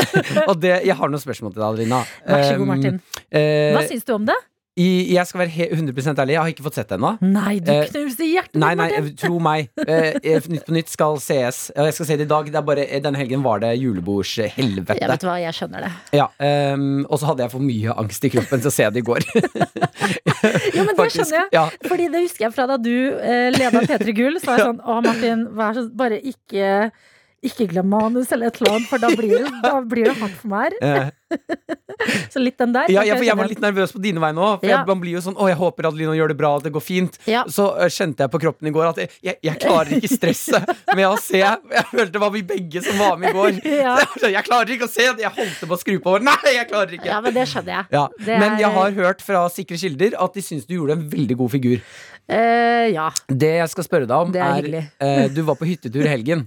Speaker 3: og det, jeg har noen spørsmål til deg, Adelina. Ehm,
Speaker 2: Vær så god, Martin.
Speaker 3: Eh,
Speaker 2: Hva syns du om det?
Speaker 3: i- jeg skal være he- 100 ærlig, jeg har ikke fått sett det ennå.
Speaker 2: Nei, du
Speaker 3: eh,
Speaker 2: knuste hjertet
Speaker 3: Nei,
Speaker 2: mitt,
Speaker 3: nei,
Speaker 2: Martin.
Speaker 3: tro meg. Eh, Nytt på Nytt skal sees. Ja, Jeg skal se det i dag. Det er bare, eh, denne helgen var det
Speaker 2: Jeg
Speaker 3: julebordshelvete.
Speaker 2: vet hva, jeg skjønner det.
Speaker 3: Ja, ehm, og så hadde jeg for mye angst i kroppen til å se det i går.
Speaker 2: Jo, men det
Speaker 3: Faktisk,
Speaker 2: skjønner jeg.
Speaker 3: ja.
Speaker 2: Fordi det husker jeg fra da du eh, leda P3 Gull. Så var jeg sånn Å, Martin, vær så Bare ikke ikke glem manus eller et eller annet, for da blir det, da blir det hardt for meg.
Speaker 3: Eh,
Speaker 2: Så litt den der.
Speaker 3: Ja,
Speaker 2: kan
Speaker 3: ja, for jeg var
Speaker 2: skjønne.
Speaker 3: litt nervøs på dine vegne òg. For
Speaker 2: Ja.
Speaker 3: jeg- man blir jo sånn Å, jeg håper Adelina gjør det bra, at det går fint.
Speaker 2: Ja.
Speaker 3: Så eh, kjente jeg på kroppen i går at jeg, jeg, jeg klarer ikke stresset med å se. Jeg følte det var vi begge som var med i går.
Speaker 2: Ja.
Speaker 3: Så Jeg klarer ikke å se det! Jeg holdt på å skru på over. Nei, jeg klarer ikke!
Speaker 2: Ja, men det skjønner jeg.
Speaker 3: Ja.
Speaker 2: Det
Speaker 3: Men jeg
Speaker 2: er-
Speaker 3: har hørt fra sikre kilder at de syns du gjorde en veldig god figur.
Speaker 2: Eh, ja.
Speaker 3: Det jeg skal spørre deg om,
Speaker 2: Det er
Speaker 3: er,
Speaker 2: hyggelig.
Speaker 3: eh, du var på hyttetur i helgen.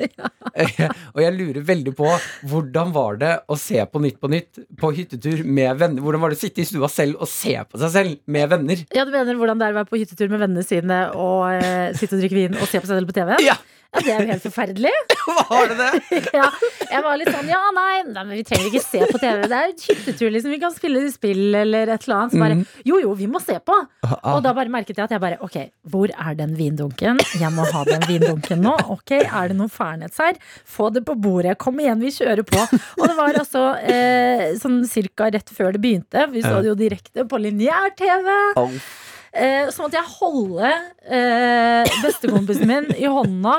Speaker 3: Eh, og jeg lurer veldig på hvordan var det å se på Nytt på Nytt på hyttetur med venner? Hvordan var det å sitte i stua selv og se på seg selv med venner?
Speaker 2: ja, du mener hvordan det er å være på hyttetur med vennene sine og eh, sitte og drikke vin og se på seg selv på TV?
Speaker 3: Ja.
Speaker 2: ja, det er jo helt forferdelig.
Speaker 3: Var det det?
Speaker 2: ja, jeg var litt sånn, ja, nei, nei, men vi trenger ikke se på TV. Det er jo hyttetur, liksom. Vi kan spille spill eller et eller annet. Så bare, jo, jo, vi må se på.
Speaker 3: Ah,
Speaker 2: Og da bare merket jeg at jeg bare, ok, hvor er den vindunken? Jeg må ha den vindunken nå. Ok, er det noen fernet her? Få det på bordet. Kom igjen, vi kjører på. Og det var altså eh, sånn cirka rett før det begynte. Vi så det jo direkte på lineær-TV. Eh, så måtte jeg holde eh, bestekompisen min i hånda.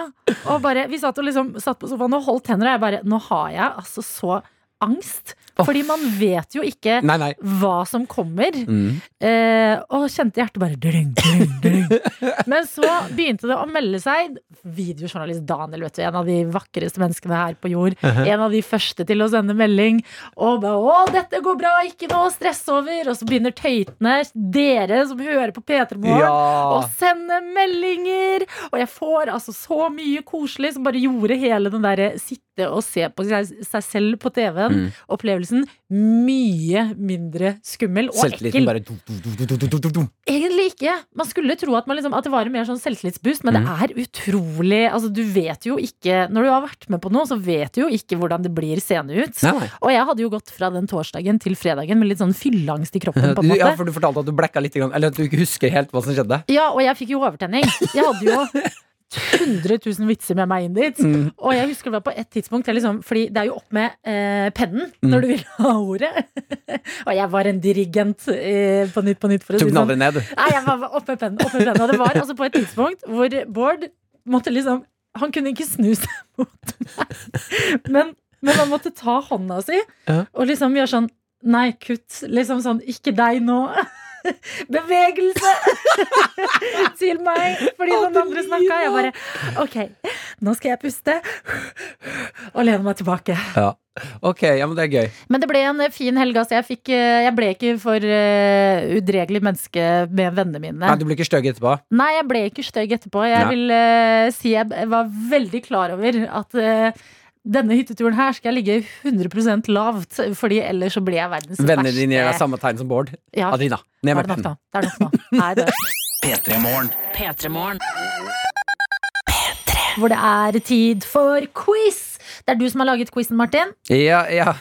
Speaker 2: Og bare, vi satt, og liksom, satt på sofaen og holdt hender, og jeg bare Nå har jeg altså så angst. Fordi man vet jo ikke
Speaker 3: Nei, nei.
Speaker 2: hva som kommer. Eh, og kjente hjertet bare drøng, drøng, drøng. Men så begynte det å melde seg videojournalist Daniel, vet du, en av de vakreste menneskene her på jord. En av de første til å sende melding. Og bare 'Å, dette går bra, ikke noe stress over'. Og så begynner tøytene, dere som hører på P3 Morgen, å
Speaker 3: Ja.
Speaker 2: sende meldinger. Og jeg får altså så mye koselig som bare gjorde hele den derre sitte og se på seg, seg selv på TV-en,
Speaker 3: Mm.
Speaker 2: opplevelsen, mye mindre skummel og ekkel.
Speaker 3: Selvtilliten bare dum, dum, dum, dum, dum, dum, dum, dum.
Speaker 2: Egentlig ikke. Man skulle tro at, man liksom, at det var en mer sånn selvtillitsboost, men
Speaker 3: Mm.
Speaker 2: det er utrolig altså, Du vet jo ikke Når du har vært med på noe, så vet du jo ikke hvordan det blir seende ut.
Speaker 3: Nei, nei.
Speaker 2: Og jeg hadde jo gått fra den torsdagen til fredagen med litt sånn fylleangst i kroppen. på en
Speaker 3: Du-
Speaker 2: måte
Speaker 3: Ja, for du fortalte at du blacka litt, grann, eller at du ikke husker helt hva som skjedde.
Speaker 2: Ja, og jeg fikk jo overtenning. Jeg hadde jo 100 000 vitser med meg inn dit.
Speaker 3: Mm.
Speaker 2: Og jeg husker det var på et tidspunkt jeg liksom, Fordi det er jo opp med eh, pennen
Speaker 3: Mm.
Speaker 2: når du vil ha ordet. og jeg var en dirigent eh, på Nytt på Nytt, for å
Speaker 3: Tok
Speaker 2: si det sånn.
Speaker 3: den aldri ned.
Speaker 2: Nei, jeg var oppe med pennen. Oppe med pennen. Og det var altså på et tidspunkt hvor Bård måtte liksom Han kunne ikke snu seg mot meg, men, men han måtte ta hånda si
Speaker 3: Ja.
Speaker 2: og liksom gjøre sånn Nei, kutt. Liksom sånn Ikke deg nå. Bevegelse til meg! Fordi noen andre snakka. Jeg bare OK, nå skal jeg puste og lene meg tilbake.
Speaker 3: Ja. Ok, ja, men det er gøy.
Speaker 2: Men det ble en fin helg. Altså. Jeg, fikk, eh, jeg ble ikke for eh, udregelig menneske med vennene mine.
Speaker 3: Nei, du blir ikke stygg etterpå?
Speaker 2: Nei, jeg ble ikke stygg etterpå. Jeg
Speaker 3: Nei.
Speaker 2: vil eh, si jeg b- var veldig klar over at eh, denne hytteturen her skal jeg ligge 100 lavt, fordi ellers så blir jeg verdens
Speaker 3: Vennene
Speaker 2: verste
Speaker 3: dine gjør deg samme tegn som Bård.
Speaker 2: Ja,
Speaker 3: Adelina, ned
Speaker 2: da er
Speaker 3: med
Speaker 2: det nok
Speaker 3: pennen.
Speaker 2: nå. Det er nok nå. Nei, det er-
Speaker 5: P3 Morgen.
Speaker 1: P3morgen.
Speaker 2: hvor det er tid for quiz. Det er du som har laget quizen, Martin.
Speaker 3: Ja, ja.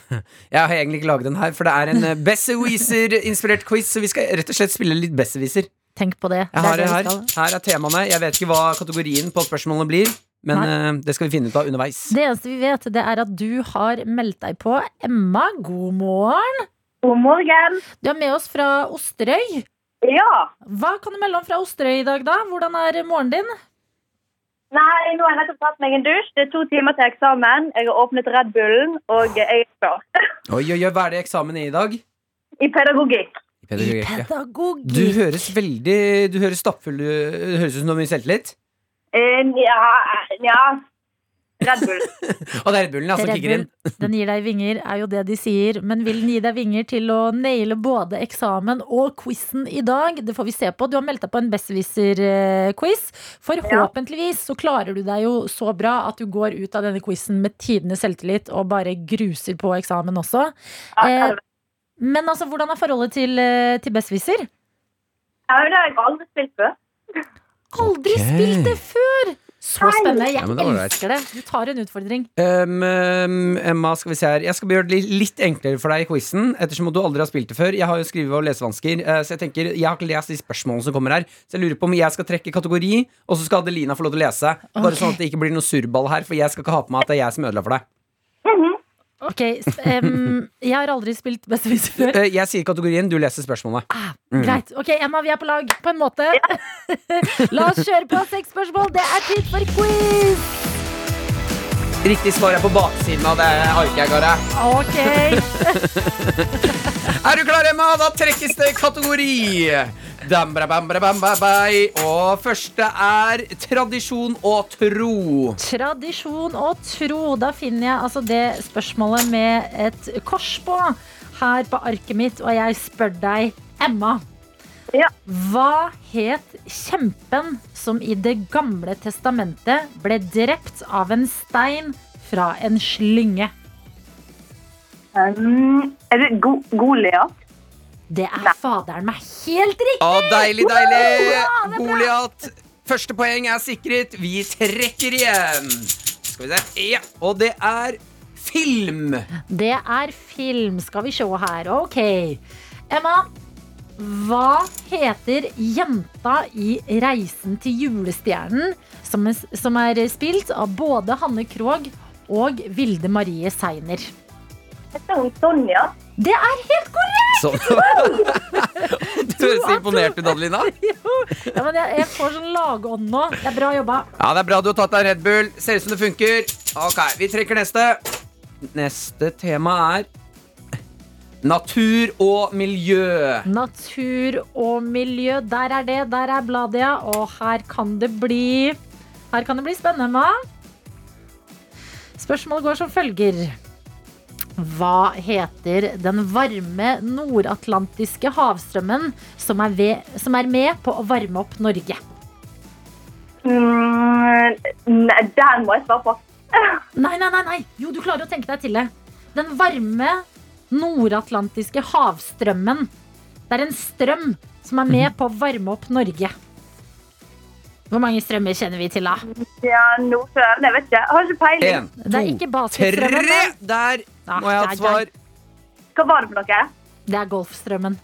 Speaker 3: Jeg har egentlig ikke laget den her, for det er en eh, Besserwisser-inspirert quiz. Så vi skal rett og slett spille litt Besserwisser.
Speaker 2: Tenk på det.
Speaker 3: Jeg har det
Speaker 2: det
Speaker 3: her.
Speaker 2: vi skal.
Speaker 3: Her er temaene. Jeg vet ikke hva kategorien på spørsmålene blir, men eh, det skal vi finne ut av underveis.
Speaker 2: Det eneste vi vet, det er at du har meldt deg på. Emma, god morgen.
Speaker 7: God morgen.
Speaker 2: Du er med oss fra Osterøy.
Speaker 7: Ja.
Speaker 2: Hva kan du melde om fra Osterøy i dag, da? Hvordan er morgenen din?
Speaker 7: Nei, nå har jeg nettopp tatt meg en dusj. Det er to timer til eksamen. Jeg har åpnet Red Bullen, og jeg er klar.
Speaker 3: Oi, oi, oi, hva er det eksamen er i dag?
Speaker 7: I pedagogikk.
Speaker 2: I
Speaker 3: Pedagogikk, ja. Du
Speaker 2: pedagogikk.
Speaker 3: høres veldig Du høres stappfull ut. Det Høres ut som du har mye selvtillit.
Speaker 7: Eh, Ja, ja. Red Bull.
Speaker 3: Og det er Red Bullen ja, som
Speaker 2: Red
Speaker 3: kicker inn.
Speaker 2: Bull, Den gir deg vinger, er jo det de sier. Men vil den gi deg vinger til å naile både eksamen og quizen i dag? Det får vi se på. Du har meldt deg på en Besserwisser-quiz. Forhåpentligvis så klarer du deg jo så bra at du går ut av denne quizen med tidenes selvtillit og bare gruser på eksamen også.
Speaker 7: Ja,
Speaker 2: Eh,
Speaker 7: jeg
Speaker 2: men altså, hvordan er forholdet til, eh, til Besserwisser?
Speaker 7: har jeg har aldri spilt før.
Speaker 2: Aldri
Speaker 3: Ok.
Speaker 2: spilt det før! Så spennende. Jeg
Speaker 3: Ja, men det var ålreit.
Speaker 2: elsker det. Du tar en utfordring.
Speaker 3: Um, um, Emma, skal vi se her Jeg skal gjøre det li- litt enklere for deg i quizen, ettersom du aldri har spilt det før. Jeg har jo skrive- og lesevansker, eh, så jeg tenker Jeg har ikke lest de spørsmålene som kommer her. Så jeg lurer på om jeg skal trekke kategori, og så skal Adelina få lov til å lese. Bare
Speaker 2: Ok.
Speaker 3: sånn at det ikke blir noe surrball her, for jeg skal ikke ha på meg at det er jeg som ødela for deg.
Speaker 2: Ok, sp- em, Jeg har aldri spilt Besserwisser før.
Speaker 3: Eh, Jeg sier kategorien, du leser spørsmålene.
Speaker 2: Ah, Greit. Ok, Emma, vi er på lag, på en måte. La oss kjøre på seks spørsmål. Det er tid for quiz!
Speaker 3: Riktig svar er på baksiden av det arket jeg ga deg.
Speaker 2: Ok,
Speaker 3: Er du klar, Emma? Da trekkes det kategori. Dam, bra, bam, bra, bam, ba, bai. Og første er tradisjon og tro.
Speaker 2: Tradisjon og tro. Da finner jeg altså det spørsmålet med et kors på her på arket mitt, og jeg spør deg, Emma.
Speaker 7: Ja.
Speaker 2: Hva het kjempen som i Det gamle testamentet ble drept av en stein fra en slynge?
Speaker 7: Um, er det Go Goliat?
Speaker 2: Det er faderen meg helt riktig!
Speaker 3: Å, deilig, deilig.
Speaker 2: Ja, det er bra.
Speaker 3: Goliat. Første poeng er sikret. Vi trekker igjen. Skal vi se. Ja, og det er film.
Speaker 2: Det er film, skal vi se her. Ok. Emma, hva heter jenta i Reisen til julestjernen, som er, som er spilt av både Hanne Krogh og Vilde Marie Seiner?
Speaker 7: Heter hun Sonja?
Speaker 2: Det er helt korrekt!
Speaker 3: Sånn. Du høres så imponert ut, Adelina.
Speaker 2: Ja, men jeg, jeg får sånn lagånd nå. Det er bra jobba.
Speaker 3: Ja, Det er bra du har tatt deg Red Bull. Ser ut som det funker. Ok, Vi trekker neste. Neste tema er natur og miljø.
Speaker 2: Natur og miljø. Der er det, der er bladet, ja. Og her kan det bli Her kan det bli spennende, Emma. Spørsmålet går som følger. Hva heter den varme nordatlantiske havstrømmen som er, ved, som er med på å varme opp Norge?
Speaker 7: Mm, nei, den må jeg svare på.
Speaker 2: Nei, nei, nei, nei. Jo, du klarer å tenke deg til det. Den varme nordatlantiske havstrømmen. Det er en strøm som er
Speaker 3: Mhm.
Speaker 2: med på å varme opp Norge. Hvor mange strømmer kjenner vi til, da?
Speaker 7: Ja, Nordsjøen, jeg vet ikke. Jeg har ikke peiling.
Speaker 3: En,
Speaker 2: Det er
Speaker 3: to,
Speaker 2: ikke
Speaker 3: tre!
Speaker 2: basketstrømmen. men-
Speaker 3: Der
Speaker 2: Ah, Ja,
Speaker 3: må jeg ha
Speaker 2: der,
Speaker 3: et svar.
Speaker 7: Hva var det for noe?
Speaker 2: Det er golfstrømmen.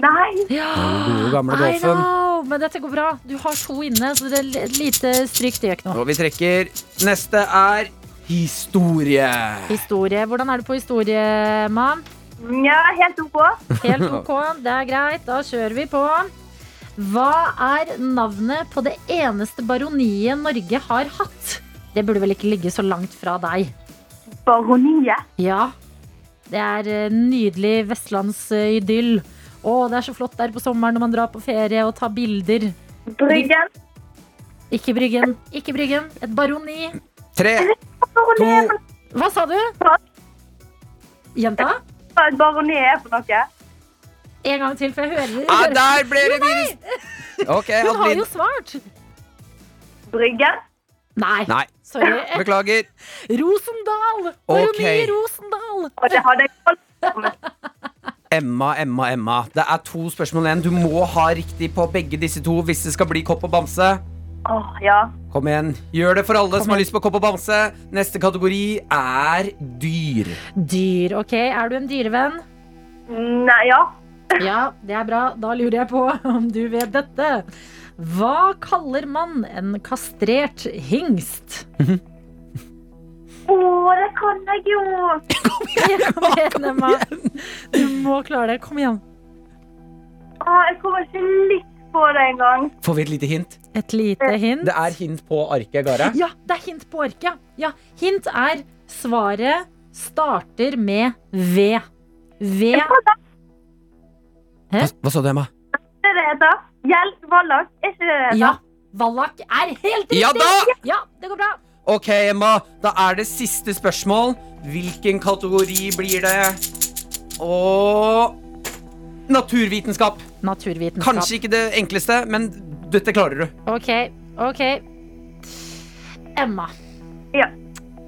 Speaker 7: Nei.
Speaker 3: Gode, gamle
Speaker 2: I
Speaker 3: golfen.
Speaker 2: know, men dette går bra. Du har to inne, så det er et lite stryk det gjør ikke noe.
Speaker 3: Og vi trekker. Neste er historie.
Speaker 2: Historie. Hvordan er du på historie, mann?
Speaker 7: Ja, helt OK.
Speaker 2: Helt ok, det er greit. Da kjører vi på. Hva er navnet på det eneste baroniet Norge har hatt? Det burde vel ikke ligge så langt fra deg?
Speaker 7: Baroniet.
Speaker 2: Ja. Det er eh, nydelig vestlandsidyll. Å, det er så flott der på sommeren når man drar på ferie og tar bilder.
Speaker 7: Bryggen.
Speaker 2: Ikke Bryggen. Ikke Bryggen. Et baroni.
Speaker 3: Tre, to
Speaker 7: Baroni er
Speaker 2: Hva sa du? Gjenta?
Speaker 7: for noe. Baroni er for noe.
Speaker 2: En gang til, for jeg hører
Speaker 3: ja,
Speaker 2: hører-
Speaker 3: Ah, Der ble det minus. Ok,
Speaker 2: Hun har
Speaker 3: Adelin.
Speaker 2: jo svart!
Speaker 7: Bryggen.
Speaker 2: Nei.
Speaker 3: Nei,
Speaker 2: Sorry.
Speaker 3: beklager.
Speaker 2: Rosendal! Baroni
Speaker 3: Ok.
Speaker 2: Rosendal!
Speaker 7: Og det hadde jeg kalt.
Speaker 3: Emma, Emma, Emma. Det er to spørsmål igjen. Du må ha riktig på begge disse to hvis det skal bli kopp og bamse.
Speaker 7: Åh, ja.
Speaker 3: Kom igjen. Gjør det for alle som har lyst på kopp og bamse. Neste kategori er dyr.
Speaker 2: Dyr. Ok, er du en dyrevenn?
Speaker 7: Nei, ja.
Speaker 2: Ja, det er bra. Da lurer jeg på om du vet dette. Hva kaller man en kastrert hingst?
Speaker 7: Åh, det kan jeg jo.
Speaker 2: Kom igjen, Emma. Du må klare det. Kom igjen.
Speaker 7: Åh, jeg kommer ikke litt på det engang.
Speaker 3: Får vi et lite hint?
Speaker 2: Et lite hint.
Speaker 3: Det er hint på arket, Gara.
Speaker 2: Ja, det er hint på arket. Ja, hint er svaret starter med V. V.
Speaker 3: Hva, hva sa du, Emma?
Speaker 7: Det er det det heter. Hjelp, Wallach. Er ikke det det heter?
Speaker 2: Ja, Wallach er helt riktig!
Speaker 3: Ja da!
Speaker 2: Ja, det går bra.
Speaker 3: Ok, Emma. Da er det siste spørsmål. Hvilken kategori blir det? Og Naturvitenskap.
Speaker 2: Naturvitenskap.
Speaker 3: Kanskje ikke det enkleste, men dette klarer du.
Speaker 2: Ok, ok. Emma.
Speaker 7: Ja.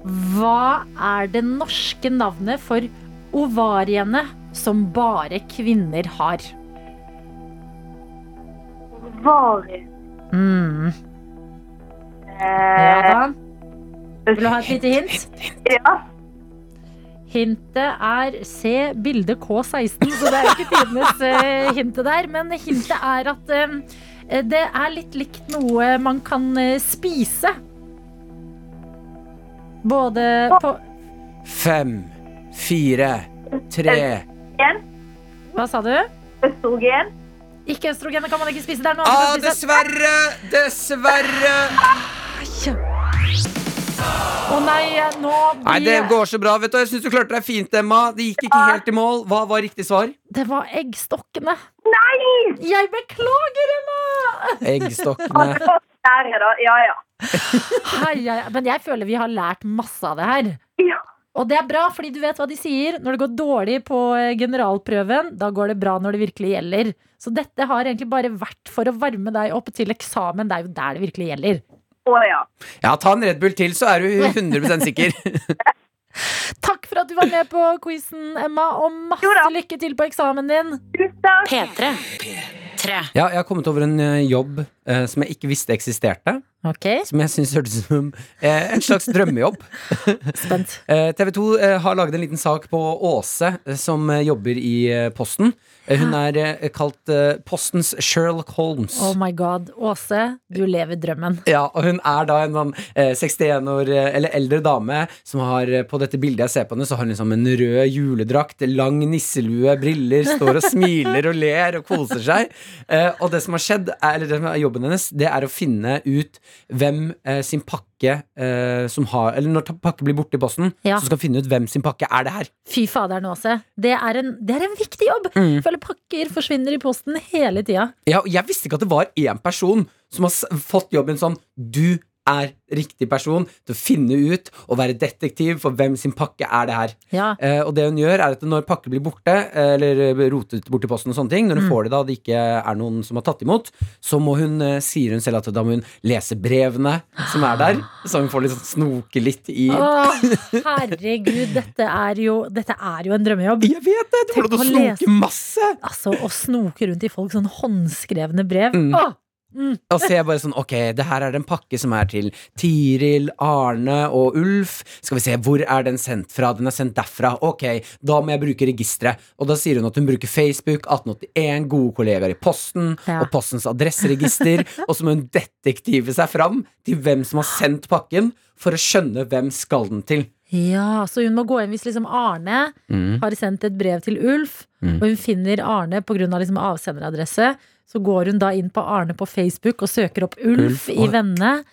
Speaker 2: Hva er det norske navnet for ovariene som bare kvinner har?
Speaker 7: Varig.
Speaker 2: Mm. Ja
Speaker 7: Eh,
Speaker 2: da. Vil du ha et lite hint?
Speaker 7: ja.
Speaker 2: Hintet er se bilde K16, så det er jo ikke tidenes eh, hintet der. Men hintet er at eh, det er litt likt noe man kan eh, spise. Både på
Speaker 3: Fem, fire, tre
Speaker 2: Hva sa du?
Speaker 7: Østrogen.
Speaker 2: Ikke østrogenet kan man ikke spise. Det er noe
Speaker 3: Ah,
Speaker 2: annet man kan spise.
Speaker 3: dessverre! Dessverre!
Speaker 2: Å nei, nå
Speaker 3: Nei,
Speaker 2: blir
Speaker 3: Det går så bra. vet du Jeg syns du klarte deg fint, Emma. Det gikk ikke helt i mål. Hva var riktig svar?
Speaker 2: Det var eggstokkene.
Speaker 7: Nei!
Speaker 2: Jeg beklager, Emma!
Speaker 3: Eggstokkene.
Speaker 7: Det var Der, da. Ja, ja.
Speaker 2: Hei, hei, hei. Men jeg føler vi har lært masse av det her.
Speaker 7: Ja.
Speaker 2: Og det er bra, fordi du vet hva de sier. Når det går dårlig på eh, generalprøven, da går det bra når det virkelig gjelder. Så dette har egentlig bare vært for å varme deg opp til eksamen. Det er jo der det virkelig gjelder.
Speaker 7: Å ja.
Speaker 3: Ja, ta en Red Bull til, så er du 100 sikker.
Speaker 2: Takk for at du var med på quizen, Emma, og
Speaker 7: Jo da.
Speaker 2: masse lykke til på eksamen din.
Speaker 7: Tusen takk.
Speaker 1: P3. P3.
Speaker 3: Ja, jeg har kommet over en eh, jobb eh, som jeg ikke visste eksisterte.
Speaker 2: Ok,
Speaker 3: Som jeg syns hørtes ut som eh, en slags drømmejobb.
Speaker 2: spent.
Speaker 3: Eh, TV 2 eh, har laget en liten sak på Åse, eh, som eh, jobber i eh, Posten. Eh, hun er eh, kalt eh, Postens Sherlock Holmes.
Speaker 2: Oh my god. Åse, du lever drømmen.
Speaker 3: Ja, og hun er da en sånn eh, 61 år eh, eller eldre dame som har eh, på dette bildet jeg ser på henne, så har hun liksom en rød juledrakt, lang nisselue, briller, står og smiler og ler og koser seg. Eh, og det som har skjedd, er, eller det som er jobben hennes, det er å finne ut hvem eh, sin pakke eh, som har Eller når ta- pakke blir borte i posten,
Speaker 2: Ja.
Speaker 3: så skal hun finne ut hvem sin pakke er det her.
Speaker 2: Fy faderen, Åse. Det er en, det er en viktig jobb. Jeg Føler pakker forsvinner i posten hele tida.
Speaker 3: Ja, og jeg visste ikke at det var én person som har s- fått jobben sånn Du er riktig person til å finne ut og være detektiv for hvem sin pakke er det her.
Speaker 2: Ja.
Speaker 3: Eh, og det hun gjør er at når pakker blir borte, eh, eller eh, rotet bort i posten og sånne ting, når
Speaker 2: Mm.
Speaker 3: hun får det da det ikke er noen som har tatt imot, så må hun, eh, sier hun selv at da må hun lese brevene som er der, så hun får liksom snoke litt i
Speaker 2: Åh, herregud, dette er, jo, dette er jo en drømmejobb.
Speaker 3: Jeg vet det! Du får
Speaker 2: Tenk
Speaker 3: lov til å
Speaker 2: å lese.
Speaker 3: snoke masse!
Speaker 2: Altså, Å snoke rundt i folk sånn håndskrevne brev.
Speaker 3: Mm.
Speaker 2: Åh,
Speaker 3: Og så er jeg bare sånn, ok, det her er en pakke som er til Tiril, Arne og Ulf. Skal vi se, hvor er den sendt fra? Den er sendt derfra. Ok, da må jeg bruke registret. Og da sier hun at hun bruker Facebook, 1881, gode kollegaer i Posten,
Speaker 2: Ja.
Speaker 3: og Postens adresseregister. og så må hun detektive seg fram til hvem som har sendt pakken, for å skjønne hvem skal den til.
Speaker 2: Ja, så hun må gå inn hvis liksom Arne
Speaker 3: Mm.
Speaker 2: har sendt et brev til Ulf, og hun finner Arne pga. Av liksom avsenderadresse. Så går hun da inn på Arne på Facebook og søker opp Ulf,
Speaker 3: Ulf og-
Speaker 2: i vennene.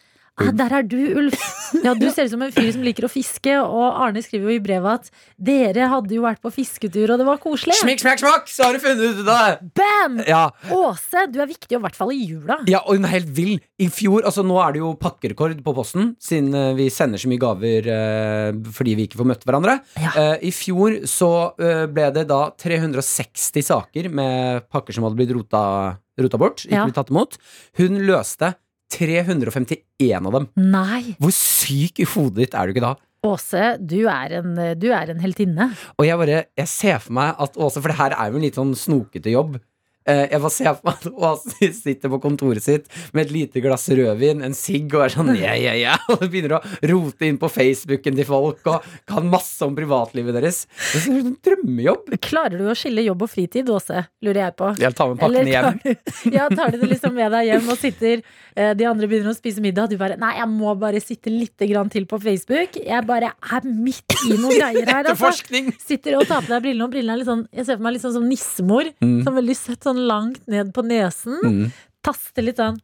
Speaker 2: Ah, der er du, Ulf! Ja, Du ser ut som en fyr som liker å fiske. Og Arne skriver jo i brevet at dere hadde jo vært på fisketur, og det var koselig.
Speaker 3: Smikk, smakk, smakk, så har du funnet ut av det!
Speaker 2: Bam!
Speaker 3: Ja,
Speaker 2: Åse, du er viktig, og i hvert fall i jula.
Speaker 3: Ja, og hun er helt vill. I fjor, altså Nå er det jo pakkerekord på posten, siden eh, vi sender så mye gaver eh, fordi vi ikke får møtt hverandre.
Speaker 2: Ja.
Speaker 3: Eh, I fjor så eh, ble det da 360 saker med pakker som hadde blitt rota, rota bort. Ikke
Speaker 2: Ja.
Speaker 3: blitt tatt imot. Hun løste 351 av dem.
Speaker 2: Nei.
Speaker 3: Hvor syk i hodet ditt er du ikke da?
Speaker 2: Å, Åse, du er en, du er en heltinne.
Speaker 3: Og jeg bare, jeg ser for meg at Åse, for det her er jo en litt sånn snokete jobb Eh, Jeg bare ser for meg at Åse sitter på kontoret sitt Med et lite glass rødvin, en sigg Og er sånn, ja, ja, ja Og begynner å rote inn på Facebooken til folk Og kan masse om privatlivet deres Det er en drømmejobb
Speaker 2: Klarer du å skille jobb og fritid, Åse? Lurer jeg på.
Speaker 3: Jeg tar med pakkene hjem
Speaker 2: Eller tar du, ja, tar du det liksom med deg hjem og sitter eh, De andre begynner å spise middag, og du bare Nei, jeg må bare sitte litt grann til på Facebook. Jeg bare er midt i noen greier her, altså.
Speaker 3: Etterforskning
Speaker 2: Sitter og tar på deg brillene, og brillene er litt sånn Jeg ser for meg litt sånn som nissemor. Sånn veldig søtt, sånn langt ned på nesen.
Speaker 3: Mm.
Speaker 2: Taster litt sånn.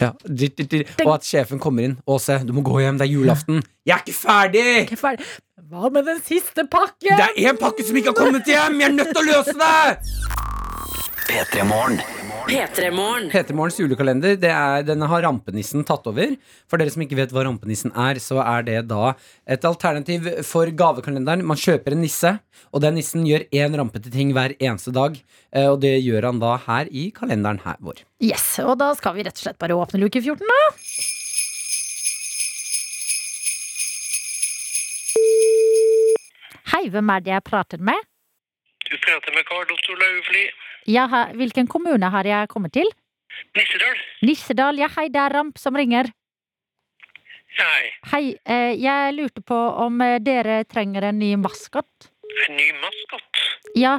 Speaker 3: ja. dyr, dyr, dyr. Og at sjefen kommer inn Åse, du må gå hjem, det er julaften Jeg er ikke ferdig
Speaker 2: «Ikke ferdig. Hva med den siste pakken?
Speaker 3: Det er en pakke som ikke har kommet hjem Jeg er nødt til å løse det
Speaker 5: P3 Morgen.
Speaker 1: P3-morgen.
Speaker 3: PT-morgens julekalender det er, den har rampenissen tatt over. For dere som ikke vet hva rampenissen er, så er det da et alternativ for gavekalenderen. Man kjøper en nisse, og den nissen gjør én rampete ting hver eneste dag. Eh, Og det gjør han da her i kalenderen her vår.
Speaker 2: Yes, og da skal vi rett og slett bare åpne luke 14, da. Hei, hvem er det jeg prater med?
Speaker 8: Du prater med Karl Otto Laufli.
Speaker 2: Jeg har, hvilken kommune har jeg kommet til?
Speaker 8: Nissedal?
Speaker 2: Nissedal. Ja, hei, det er Ramp som ringer.
Speaker 8: Nei,
Speaker 2: Hei, eh, jeg lurte på om eh, dere trenger en ny maskot?
Speaker 8: en ny maskott?
Speaker 2: Ja,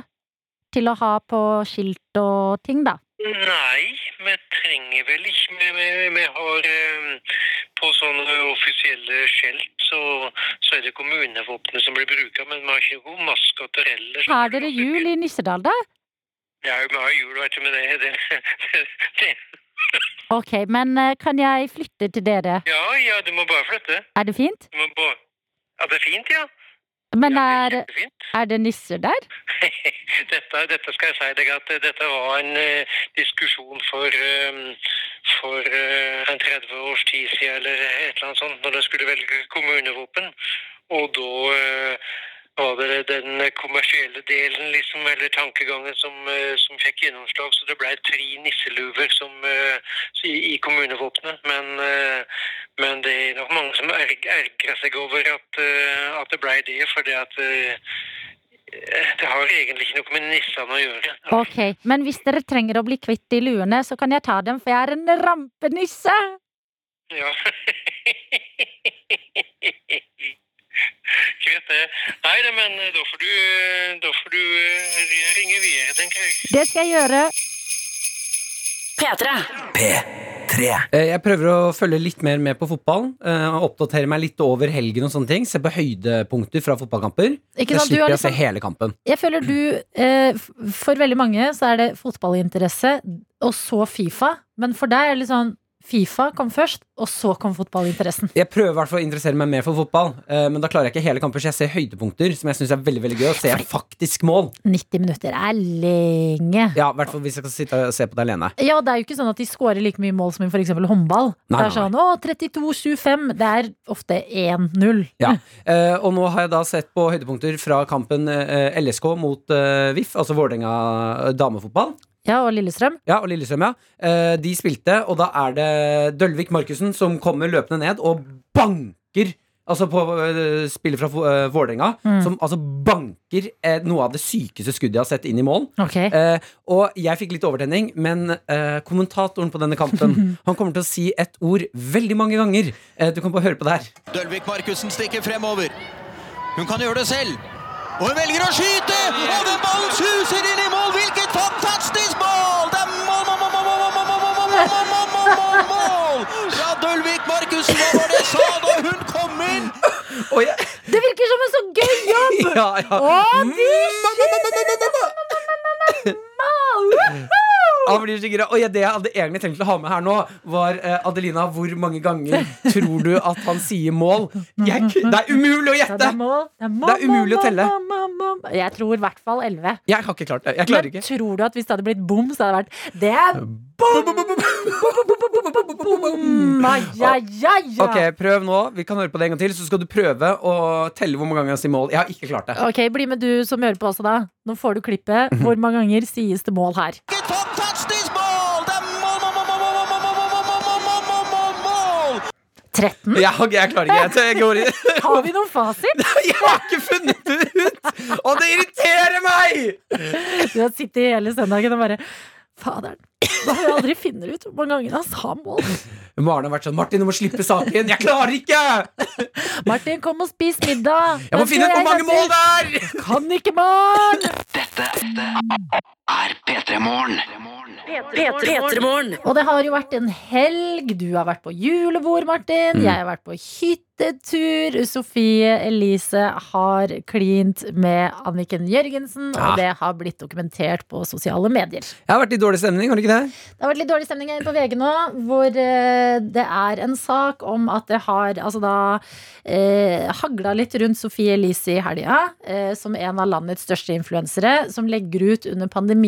Speaker 2: til å ha på skilt og ting, da.
Speaker 8: Nei, vi trenger vel ikke Vi, vi, vi har eh, På sånne offisielle skjelt så, så er det kommunevåpenet som blir bruka, men vi har ikke noen maskotter ellers.
Speaker 2: Har dere jul i Nissedal, da?
Speaker 8: Ja, vi har jul, vet du, men det, det, det, det.
Speaker 2: Ok, men eh, kan jeg flytte til dere?
Speaker 8: Ja, ja, du må bare flytte.
Speaker 2: Er det fint?
Speaker 8: Du må bare Ja, det er fint, ja.
Speaker 2: Men
Speaker 8: ja
Speaker 2: er,
Speaker 8: det er kjempefint.
Speaker 2: er det nisser der?
Speaker 8: dette, dette skal jeg si deg at eh, dette var en eh, diskusjon for, eh, for eh, en 30 års tid siden eller et eller annet sånt, når de skulle velge kommunevåpen. Og da eh, var det den kommersielle delen, liksom, eller tankegangen, som, eh, som fikk gjennomslag. Så det ble tre nisseluver som, eh, i, i kommunevåpenet. Men, eh, men det er nok mange som erg- ergrer seg over at, eh, at det ble det, fordi at eh, det har egentlig ikke noe med nissene å gjøre.
Speaker 2: Ok, men hvis dere trenger å bli kvitt de luene, så kan jeg ta dem, for jeg er en rampenisse!
Speaker 8: Ja. Greit, det. Nei da, men eh, da får du, eh, da får du eh, ringe videre, tenker jeg.
Speaker 2: Det skal jeg gjøre.
Speaker 1: P3.
Speaker 5: P3.
Speaker 3: Eh, Jeg prøver å følge litt mer med på fotballen. eh, og Oppdatere meg litt over helgen og sånne ting. Se på høydepunkter fra fotballkamper.
Speaker 2: Ikke
Speaker 3: Da
Speaker 2: sant, du
Speaker 3: slipper
Speaker 2: er
Speaker 3: jeg å se
Speaker 2: liksom,
Speaker 3: hele kampen.
Speaker 2: jeg føler du eh, f- For veldig mange så er det fotballinteresse, og så Fifa. Men for deg er det litt sånn Fifa kom først, og så kom fotballinteressen.
Speaker 3: Jeg prøver i hvert fall å interessere meg mer for fotball, eh, men da klarer jeg ikke hele kamper, så jeg ser høydepunkter som jeg syns er veldig veldig gøy, og ser faktisk mål.
Speaker 2: 90 minutter er lenge.
Speaker 3: Ja, i hvert fall hvis jeg skal sitte og se på det alene.
Speaker 2: Ja, det er jo ikke sånn at de skårer like mye mål som i for eksempel håndball.
Speaker 3: Nei,
Speaker 2: det er
Speaker 3: nei,
Speaker 2: sånn å, 32-25. Det er ofte 1-0.
Speaker 3: Ja. Eh, og nå har jeg da sett på høydepunkter fra kampen eh, LSK mot eh, VIF, altså Vålerenga eh, damefotball,
Speaker 2: Ja, og Lillestrøm.
Speaker 3: ja, og Lillestrøm, ja. Eh, de spilte, og da er det Dølvik Markussen som kommer løpende ned og banker Altså på eh, spillet fra uh, Vålerenga,
Speaker 2: Mm.
Speaker 3: som altså banker eh, noe av det sykeste skuddet jeg har sett inn i mål.
Speaker 2: Ok.
Speaker 3: Eh, og jeg fikk litt overtenning, men eh, kommentatoren på denne kampen Han kommer til å si et ord veldig mange ganger. Eh, du kan bare høre på det her.
Speaker 9: Dølvik Markussen stikker fremover. Hun kan gjøre det selv. Og hun velger å skyte! Og den ballen suser inn i mål! Hvilket fantastisk mål! Det er mål, mål, mål, mål, mål, mål, mål, mål, mål, mål, mål, mål, mål, mål! Ja, Dølvik Markussen, hva var det jeg sa da hun kom inn?
Speaker 3: Og jeg,
Speaker 2: Det virker som en så gøy jobb!
Speaker 3: ja, ja. Mm.
Speaker 2: Å, de
Speaker 3: Han blir så gira. Og jeg, det jeg hadde egentlig tenkt å ha med her nå, var eh, Adelina, hvor mange ganger tror du at han sier mål? Jeg, ku- det er umulig å
Speaker 2: Ja, det
Speaker 3: gjette!
Speaker 2: er mål. Det er, mål,
Speaker 3: Det er umulig å
Speaker 2: mål,
Speaker 3: telle.
Speaker 2: mål, mål, mål, mål. Jeg tror i hvert fall 11.
Speaker 3: Jeg har ikke klart det. Jeg klarer
Speaker 2: Men
Speaker 3: ikke.
Speaker 2: tror du at hvis det hadde blitt bom, så hadde det vært Det er bom! Ai, ai, ai, ai.
Speaker 3: Ok, Prøv nå. Vi kan høre på det en gang til, så skal du prøve å telle hvor mange ganger han sier mål. Jeg har ikke klart det.
Speaker 2: Ok, bli med du som hører på også, da. Nå får du
Speaker 3: Mhm.
Speaker 2: klippet. Hvor mange ganger sies det mål her?
Speaker 9: Hvilket fantastisk mål! Det er mål, mål, mål, mål, mål, mål, mål, mål, mål, mål, mål, mål, mål, mål!
Speaker 2: 13?
Speaker 3: Jeg, jeg klarer ikke. Jeg, jeg går i
Speaker 2: Har vi noen fasit?
Speaker 3: Jeg har ikke funnet det ut! Og det irriterer meg!
Speaker 2: Du har sittet hele søndagen og bare Faderen, da har jeg aldri funnet ut hvor mange ganger han sa mål.
Speaker 3: Maren har vært sånn Martin, du må slippe saken. Jeg klarer ikke!
Speaker 2: Martin, kom og spis middag!
Speaker 3: Jeg må
Speaker 2: Da
Speaker 3: finne
Speaker 2: skal
Speaker 3: ut hvor mange
Speaker 2: jeg
Speaker 3: mål det er!
Speaker 2: Kan ikke mål!
Speaker 5: er P3 Morgen.
Speaker 1: P3morgen.
Speaker 2: Og det har jo vært en helg. Du har vært på julebord, Martin. Jeg har vært på hyttetur. Sofie Elise har klint med Anniken Jørgensen,
Speaker 3: Ah.
Speaker 2: og det har blitt dokumentert på sosiale medier.
Speaker 3: Jeg har vært i dårlig stemning, har du ikke det?
Speaker 2: Det har vært litt dårlig stemning her på VG nå, hvor eh, det er en sak om at det har altså da eh, hagla litt rundt Sofie Elise i helga, eh, som en av landets største influensere, som legger ut under pandemien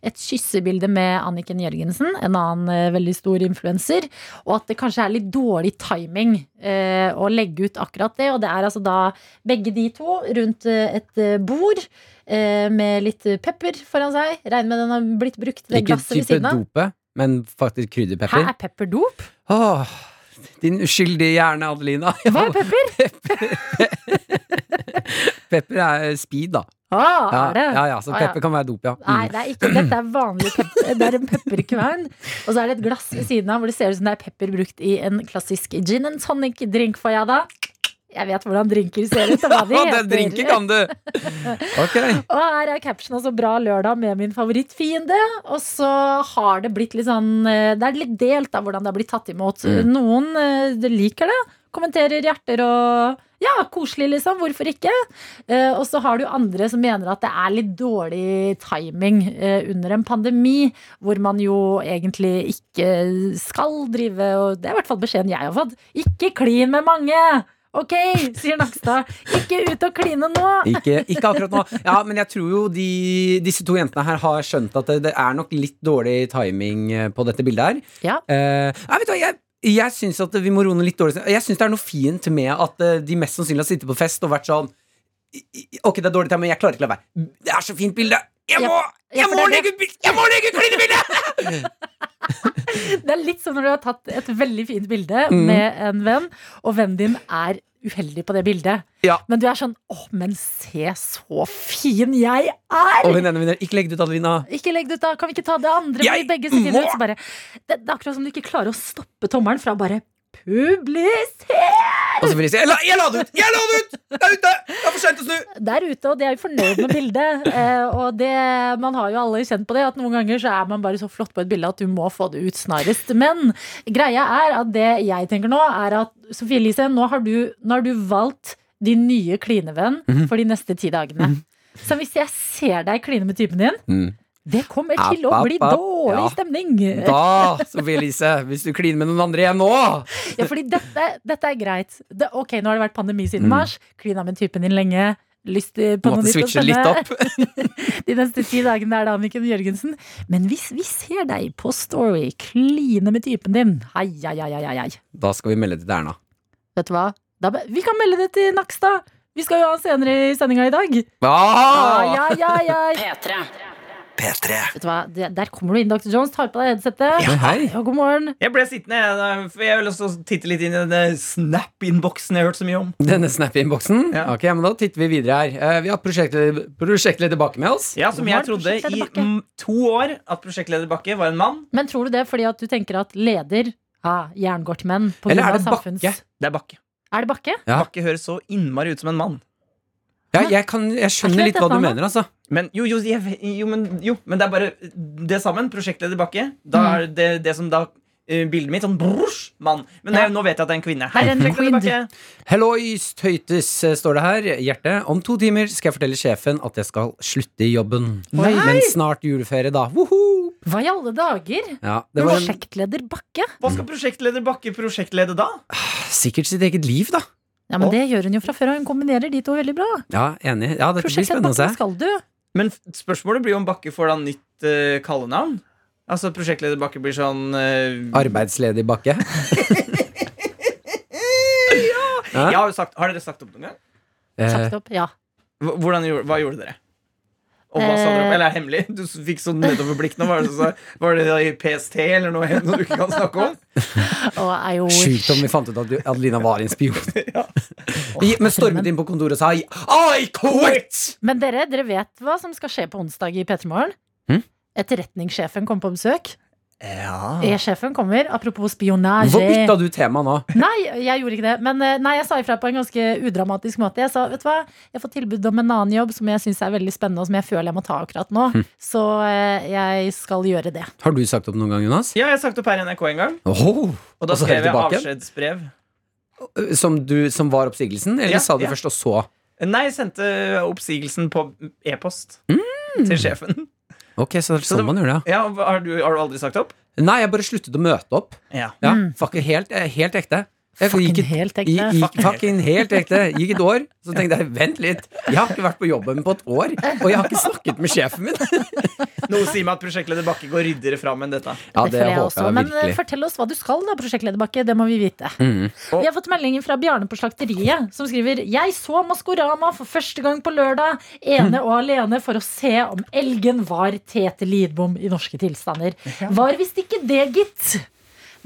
Speaker 2: et kyssebilde med Anniken Jørgensen, en annen eh, veldig stor influenser, og at det kanskje er litt dårlig timing eh, å legge ut akkurat det. Og det er altså da begge de to rundt eh, et eh, bord. eh, Med litt pepper foran seg. Regner med den har blitt brukt. Det
Speaker 3: Ikke
Speaker 2: glasset ved
Speaker 3: type
Speaker 2: siden av.
Speaker 3: dope, men faktisk krydderpepper.
Speaker 2: Hæ, er pepper dop?
Speaker 3: Åh, din uskyldige hjerne, Adelina.
Speaker 2: Hva er pepper?
Speaker 3: Pepper er eh, speed, da.
Speaker 2: Ah,
Speaker 3: Ja,
Speaker 2: er det?
Speaker 3: ja, ja, så
Speaker 2: Ah, ja.
Speaker 3: pepper kan være dop, ja.
Speaker 2: Nei,
Speaker 3: Mm.
Speaker 2: det er ikke dette. er vanlig pepper. Det er en pepperkvern. Og så er det et glass ved siden av hvor det ser ut som det er pepper brukt i en klassisk gin and tonic-drink. Får jeg da? Jeg vet hvordan drinker ser ut. Og hva de
Speaker 3: Å, den
Speaker 2: heter.
Speaker 3: drinken kan du! Ok.
Speaker 2: Og her er captionen altså 'Bra lørdag med min favorittfiende'. Og så har det blitt litt sånn eh, Det er litt delt av hvordan det har blitt tatt imot. Noen eh, de liker det, kommenterer hjerter og ja, koselig, liksom. Hvorfor ikke? Eh, Og så har du andre som mener at det er litt dårlig timing eh, under en pandemi, hvor man jo egentlig ikke skal drive og Det er i hvert fall beskjeden jeg har fått. Ikke klin med mange! Ok, sier Nakstad. Ikke ut og kline nå!
Speaker 3: Ikke, ikke akkurat nå. Ja, men jeg tror jo de, disse to jentene her har skjønt at det, det er nok litt dårlig timing eh, på dette bildet her.
Speaker 2: Ja.
Speaker 3: Eh, nei, vet du hva, jeg jeg syns at vi må roe ned litt dårlig Jeg synes det er noe fint med at eh, de mest sannsynlig har sittet på fest og vært sånn «I- i- Ok, det er dårlig tid, men jeg klarer ikke la være. Det er så fint bilde! Jeg
Speaker 2: Ja,
Speaker 3: må,
Speaker 2: ja,
Speaker 3: jeg
Speaker 2: for
Speaker 3: må
Speaker 2: det er
Speaker 3: legge ut bil- jeg må legge ut klinebildet!
Speaker 2: Det er litt som når du har tatt et veldig fint bilde
Speaker 3: Mm.
Speaker 2: med en venn, og vennen din er uheldig på det bildet.
Speaker 3: Ja.
Speaker 2: Men du er sånn 'Å, men se så fin jeg er!'
Speaker 3: Og hun ene min er, ikke legg det ut, Adelina.
Speaker 2: Ikke legg det ut, da. Kan vi ikke ta det andre?
Speaker 3: Jeg
Speaker 2: Jeg, begge sitter
Speaker 3: må-
Speaker 2: ut, så bare, det, det er akkurat som du ikke klarer å stoppe tommelen fra bare Publiser!
Speaker 3: Og så friser jeg. Jeg la- Jeg la det ut! Jeg la det ut! Det er ute! Det er for seint å snu!
Speaker 2: Der ute, og de er jo fornøyd med bildet. Eh, og det, man har jo alle kjent på det, at noen ganger så er man bare så flott på et bilde at du må få det ut snarest. Men greia er at det jeg tenker nå, er at Sofie Elise, nå har du, nå har du valgt din nye klinevenn
Speaker 3: Mhm.
Speaker 2: for de neste ti dagene. Så hvis jeg ser deg kline med typen din,
Speaker 3: Mhm.
Speaker 2: det kommer
Speaker 3: App,
Speaker 2: til å
Speaker 3: app,
Speaker 2: bli
Speaker 3: app.
Speaker 2: dårlig
Speaker 3: Ja.
Speaker 2: stemning.
Speaker 3: Da, Sofie Elise, hvis du kliner med noen andre igjen nå
Speaker 2: Ja, fordi dette, dette er greit. Det, ok, nå har det vært pandemi siden mars. Klina med typen din lenge. Lyst til- på noe
Speaker 3: Mm. Måtte
Speaker 2: nytt og
Speaker 3: switche litt
Speaker 2: spennende.
Speaker 3: opp.
Speaker 2: De neste ti dagene er det Anniken Jørgensen. Men hvis vi ser deg på Story kline med typen din, hei, hei, hei, hei, hei.
Speaker 3: Da skal vi melde det til Erna.
Speaker 2: Vet du hva? Da, be- vi kan melde det til Nakstad. Vi skal jo ha han senere i sendinga i dag. Ai,
Speaker 3: Ah!
Speaker 2: ai, ai, ai.
Speaker 1: P3.
Speaker 5: P3.
Speaker 2: Vet du hva? Det, der kommer du inn, Dr. Jones. Tar på deg headsetet.
Speaker 3: Men hei.
Speaker 2: Ja, god morgen.
Speaker 4: Jeg ble sittende, jeg, da, for jeg har lyst til å titte litt inn i den snap-innboksen jeg har hørt så mye om.
Speaker 3: Denne snap-innboksen?
Speaker 4: Ja.
Speaker 3: Ok, men Da titter vi videre her. Eh, Vi har prosjektleder, prosjektleder Bakke med oss.
Speaker 4: Ja, Som jeg
Speaker 2: Hvor var
Speaker 4: trodde i
Speaker 2: prosjektleder Bakke?
Speaker 4: mm, to år at prosjektleder Bakke var en mann.
Speaker 2: Men tror du det fordi at du tenker at leder ah, jern går til menn? På
Speaker 3: Eller
Speaker 2: grunn
Speaker 3: er
Speaker 2: av
Speaker 3: det Bakke?
Speaker 2: samfunns-
Speaker 4: Det er Bakke.
Speaker 2: Er det Bakke?
Speaker 3: Ja.
Speaker 4: Bakke høres så innmari ut som en mann.
Speaker 3: Ja, jeg, kan, jeg
Speaker 2: Er
Speaker 3: skjønner
Speaker 2: ikke
Speaker 3: litt hva
Speaker 2: dette
Speaker 3: du
Speaker 2: han,
Speaker 3: mener, altså.
Speaker 4: Men jo, jo, jeg, vet- jo, men, jo, men det er bare det sammen. Prosjektleder Bakke. Da er det det som da eh, Bildet mitt sånn brosj, mann. Men
Speaker 2: Ja.
Speaker 4: jeg, nå vet jeg at det er en kvinne.
Speaker 2: er en quid.
Speaker 4: prosjektleder Bakke.
Speaker 3: Hellois tøytes, eh, står det her. Hjerte, om to timer skal jeg fortelle sjefen at jeg skal slutte i jobben.
Speaker 2: Oi.
Speaker 3: Men snart juleferie, da. Woho!
Speaker 2: Hva i alle dager?
Speaker 3: Ja, det var en,
Speaker 2: Prosjektleder Bakke?
Speaker 4: Hva skal prosjektleder Bakke prosjektlede da?
Speaker 3: sikkert sitt eget liv, da.
Speaker 2: Ja, men Det gjør hun jo fra før, og hun kombinerer de to veldig bra.
Speaker 3: Ja, enig. Ja, dette blir
Speaker 2: Prosjektleder
Speaker 3: spennende å
Speaker 2: Bakke
Speaker 3: se.
Speaker 2: skal du.
Speaker 4: Men f- spørsmålet blir jo om Bakke får da nytt eh, kallenavn. Altså prosjektleder Bakke blir sånn eh,
Speaker 3: Arbeidsledig Bakke.
Speaker 4: jeg har, jo sagt, har dere sagt opp noen gang?
Speaker 3: Eh,
Speaker 2: Sagt opp, ja.
Speaker 4: Hva- Hvordan, gjorde- hva gjorde dere? Og hva sa dere om? Eller er det hemmelig? Du fikk sånn nedoverblikk nå. Var det, så, var det i PST eller noe, noe du ikke kan snakke om?
Speaker 2: Og I
Speaker 3: Sjukt
Speaker 2: wish.
Speaker 3: om vi fant ut at du- Adelina var en spion. Vi- Men stormet inn på kontoret og sa I quit!
Speaker 2: Men dere, dere vet hva som skal skje på onsdag i P3 Morgen?
Speaker 3: Hm?
Speaker 2: Etterretningssjefen kommer på besøk.
Speaker 4: Ja.
Speaker 2: E-sjefen kommer. Apropos
Speaker 3: Hvorfor bytta
Speaker 2: spionasje.
Speaker 3: du tema nå?
Speaker 2: Nei, jeg gjorde ikke det. Men eh, nei, jeg sa ifra på en ganske udramatisk måte. Jeg sa vet du hva, jeg får tilbud om en annen jobb som jeg syns er veldig spennende, og som jeg føler jeg må ta akkurat nå.
Speaker 3: Hm.
Speaker 2: Så eh, jeg skal gjøre det.
Speaker 3: Har du sagt opp noen gang, Jonas?
Speaker 4: ja, jeg sagt opp her i NRK en gang.
Speaker 3: Åh,
Speaker 4: Og da
Speaker 3: så
Speaker 4: skrev
Speaker 3: helt
Speaker 4: jeg
Speaker 3: tilbake igjen?
Speaker 4: avskjedsbrev.
Speaker 3: Eh, Som, du, som var oppsigelsen? Eller
Speaker 4: Ja,
Speaker 3: sa du
Speaker 4: ja.
Speaker 3: først og så?
Speaker 4: Nei, jeg sendte oppsigelsen på e-post til sjefen.
Speaker 3: Ok, så det er
Speaker 4: Så det-
Speaker 3: sånn man gjør det.
Speaker 4: Mm. Ja, og Har du, har du aldri sagt opp?
Speaker 3: ja. Nei, jeg bare sluttet å møte opp.
Speaker 4: Ja.
Speaker 3: Ja, fuck, helt, eh, helt ekte.
Speaker 2: Mm.
Speaker 3: Jeg
Speaker 2: Fucking
Speaker 3: gikk et-
Speaker 2: helt ekte.
Speaker 3: Gikk, gikk, fucking helt ekte. Gikk et år, så tenkte jeg vent litt. Jeg har ikke vært på jobben på et år, og jeg har ikke snakket med sjefen min.
Speaker 4: Noe sier meg at prosjektleder Bakke går ryddigere fram enn dette.
Speaker 3: Ja,
Speaker 2: Det
Speaker 3: det
Speaker 2: føler jeg
Speaker 3: håper
Speaker 2: også.
Speaker 3: jeg
Speaker 2: Men eh,
Speaker 3: virkelig.
Speaker 2: fortell oss hva du skal da, prosjektleder Bakke. Det må vi vite.
Speaker 3: Mm.
Speaker 2: Vi har fått meldingen fra Bjarne på Slakteriet, som skriver Jeg så Maskorama for første gang på lørdag, ene og alene for å se om elgen var Tete Lidbom i norske tilstander. Var visst ikke det, gitt.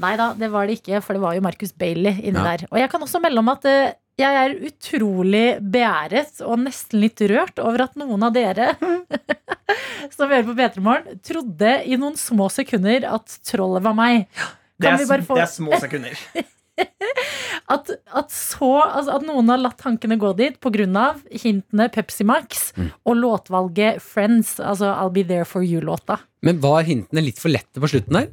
Speaker 2: Nei da, det var det ikke, for det var jo Marcus Bailey inni
Speaker 3: Ja.
Speaker 2: der. Og jeg kan også melde om at eh, jeg er utrolig beæret og nesten litt rørt over at noen av dere som hører på P3morgen, trodde i noen små sekunder at trollet var meg.
Speaker 4: Det
Speaker 2: Kan
Speaker 4: er,
Speaker 2: vi bare få
Speaker 4: det er små sekunder.
Speaker 2: at, at, så, altså at noen har latt tankene gå dit pga. hintene Pepsi Max og låtvalget Friends, altså I'll Be There For You-låta.
Speaker 3: Men var hintene litt for lette på slutten der?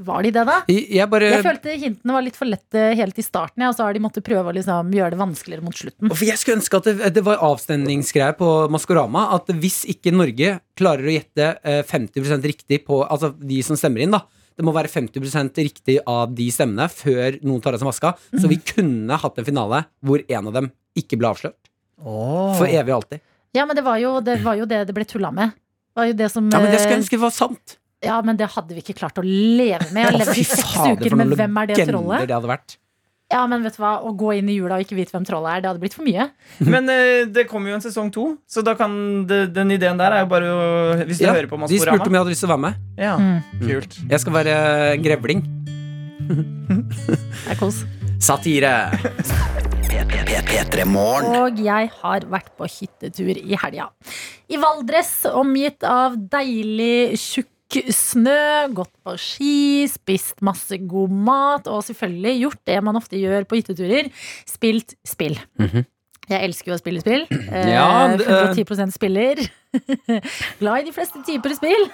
Speaker 2: Var de det, da?
Speaker 3: Jeg jeg bare
Speaker 2: Jeg følte hintene var litt for lette helt i starten, ja, og så har de måttet prøve å liksom gjøre det vanskeligere mot slutten.
Speaker 3: For jeg skulle ønske at det, det var avstemningsgreier på Maskorama. At hvis ikke Norge klarer å gjette eh, 50 riktig på Altså de som stemmer inn, da. Det må være 50 riktig av de stemmene før noen tar av seg maska. Så
Speaker 2: Mhm.
Speaker 3: vi kunne hatt en finale hvor en av dem ikke ble avslørt. For evig og alltid.
Speaker 2: Ja, men det var jo det var jo det, det ble tulla med. Det var jo det som
Speaker 3: Ja, men Det skulle
Speaker 2: eh,
Speaker 3: jeg ønske var sant.
Speaker 2: ja, men det hadde vi ikke klart å leve med. Jeg levde i seks uker med hvem er det
Speaker 3: legender
Speaker 2: trollet?
Speaker 3: det hadde vært.
Speaker 2: Ja, men vet du hva, Å gå inn i jula og ikke vite hvem trollet er, det hadde blitt for mye.
Speaker 4: Men eh, det kommer jo en sesong to, så da kan det, den ideen der er jo bare å Hvis du
Speaker 3: Ja,
Speaker 4: hører på
Speaker 3: de spurte om
Speaker 4: Maskorama.
Speaker 3: jeg hadde lyst til å være med.
Speaker 4: Ja, kult.
Speaker 3: Jeg skal være grevling.
Speaker 2: Det er kos.
Speaker 3: Satire.
Speaker 5: P3 Morgen.
Speaker 2: Og jeg har vært på hyttetur i helga. I Valdres, omgitt av deilig, tjukk snø, gått på ski, spist masse god mat og selvfølgelig gjort det man ofte gjør på hytteturer spilt spill. Jeg elsker jo å spille spill. Eh,
Speaker 3: Ja, det-
Speaker 2: 110 spiller. Glad i de fleste typer spill.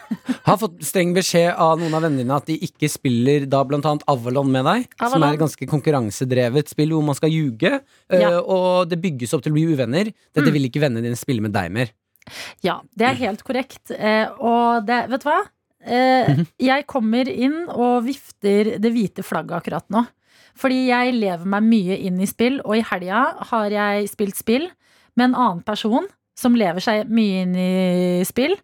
Speaker 3: Har fått streng beskjed av noen av vennene dine at de ikke spiller da blant annet Avalon med deg. Som
Speaker 2: Avalon.
Speaker 3: er et ganske konkurransedrevet spill hvor man skal ljuge. eh,
Speaker 2: Ja. Mm.
Speaker 3: Og det bygges opp til å bli uvenner. Dette vil ikke vennene dine spille med deg mer.
Speaker 2: Ja, det er helt korrekt. Eh, og det, vet du hva? Eh, jeg kommer inn og vifter det hvite flagget akkurat nå. Fordi jeg lever meg mye inn i spill, og i helga har jeg spilt spill med en annen person som lever seg mye inn i spill.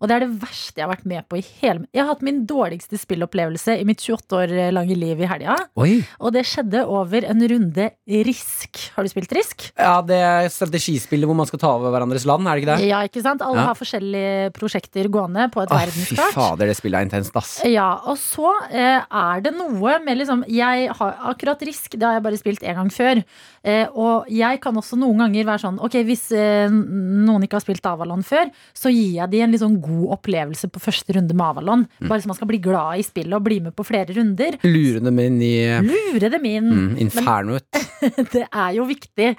Speaker 2: Og det er det verste jeg har vært med på i hele Jeg har hatt min dårligste spillopplevelse i mitt 28 år lange liv i helga.
Speaker 3: Oi.
Speaker 2: Og det skjedde over en runde Risk. Har du spilt Risk?
Speaker 3: Ja, det er strategispillet hvor man skal ta over hverandres land, er det ikke det?
Speaker 2: Ja, ikke sant? Alle
Speaker 3: Ja.
Speaker 2: har forskjellige prosjekter gående på et
Speaker 3: Å, fy
Speaker 2: verdenskart.
Speaker 3: fader, det spillet er intenst, ass.
Speaker 2: Ja, og så eh, er det noe med liksom jeg har, Akkurat Risk, det har jeg bare spilt en gang før. Eh, og jeg kan også noen ganger være sånn Ok, hvis eh, noen ikke har spilt Avalon før, så gir jeg de en litt sånn god opplevelse på første runde med Avalon.
Speaker 3: Mm.
Speaker 2: Bare så man skal bli glad i spillet og bli med på flere runder.
Speaker 3: Lure dem inn i
Speaker 2: Lure dem inn.
Speaker 3: mm, infernoet.
Speaker 2: Det er jo viktig.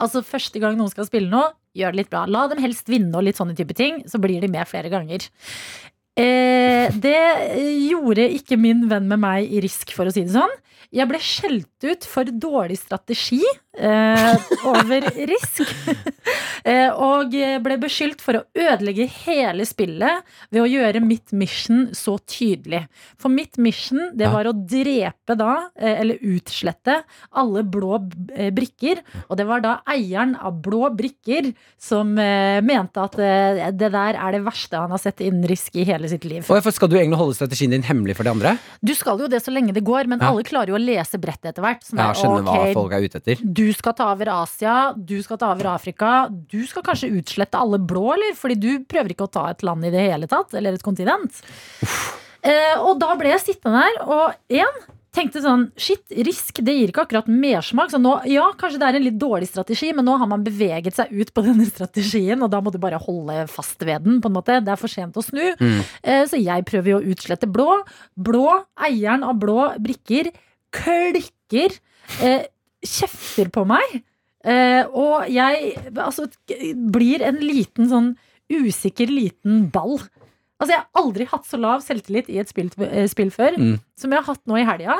Speaker 2: Altså Første gang noen skal spille noe, gjør det litt bra. La dem helst vinne og litt sånne type ting, så blir de med flere ganger. Eh, det gjorde ikke min venn med meg i risk, for å si det sånn. Jeg ble skjelt ut for dårlig strategi eh, over risk. eh, og ble beskyldt for å ødelegge hele spillet ved å gjøre mitt mission så tydelig. For mitt mission, det
Speaker 3: Ja.
Speaker 2: var å drepe da, eh, eller utslette, alle blå eh, brikker. Og det var da eieren av blå brikker som eh, mente at eh, det der er det verste han har sett innen risk i hele hele sitt liv.
Speaker 3: Og for skal du egentlig holde strategien din hemmelig for de andre?
Speaker 2: Du skal jo det så lenge det går, men
Speaker 3: Ja.
Speaker 2: alle klarer jo å lese brettet etter hvert. Som
Speaker 3: Ja,
Speaker 2: er,
Speaker 3: skjønner
Speaker 2: ok,
Speaker 3: hva folk er ute etter.
Speaker 2: du skal ta over Asia, du skal ta over Afrika. Du skal kanskje utslette alle blå, eller? Fordi du prøver ikke å ta et land i det hele tatt, eller et kontinent. Eh, og da ble jeg sittende der, og én tenkte sånn Shit, risk, det gir ikke akkurat mersmak. Så nå, ja, kanskje det er en litt dårlig strategi, men nå har man beveget seg ut på denne strategien, og da må du bare holde fast ved den, på en måte. Det er for sent å snu. Eh, Så jeg prøver jo å utslette blå. Blå, eieren av blå brikker, klikker, eh, kjefter på meg. Eh, og jeg altså, k- blir en liten sånn usikker liten ball. Altså, jeg har aldri hatt så lav selvtillit i et spill, eh, spill før
Speaker 3: Mm.
Speaker 2: som jeg har hatt nå i helga.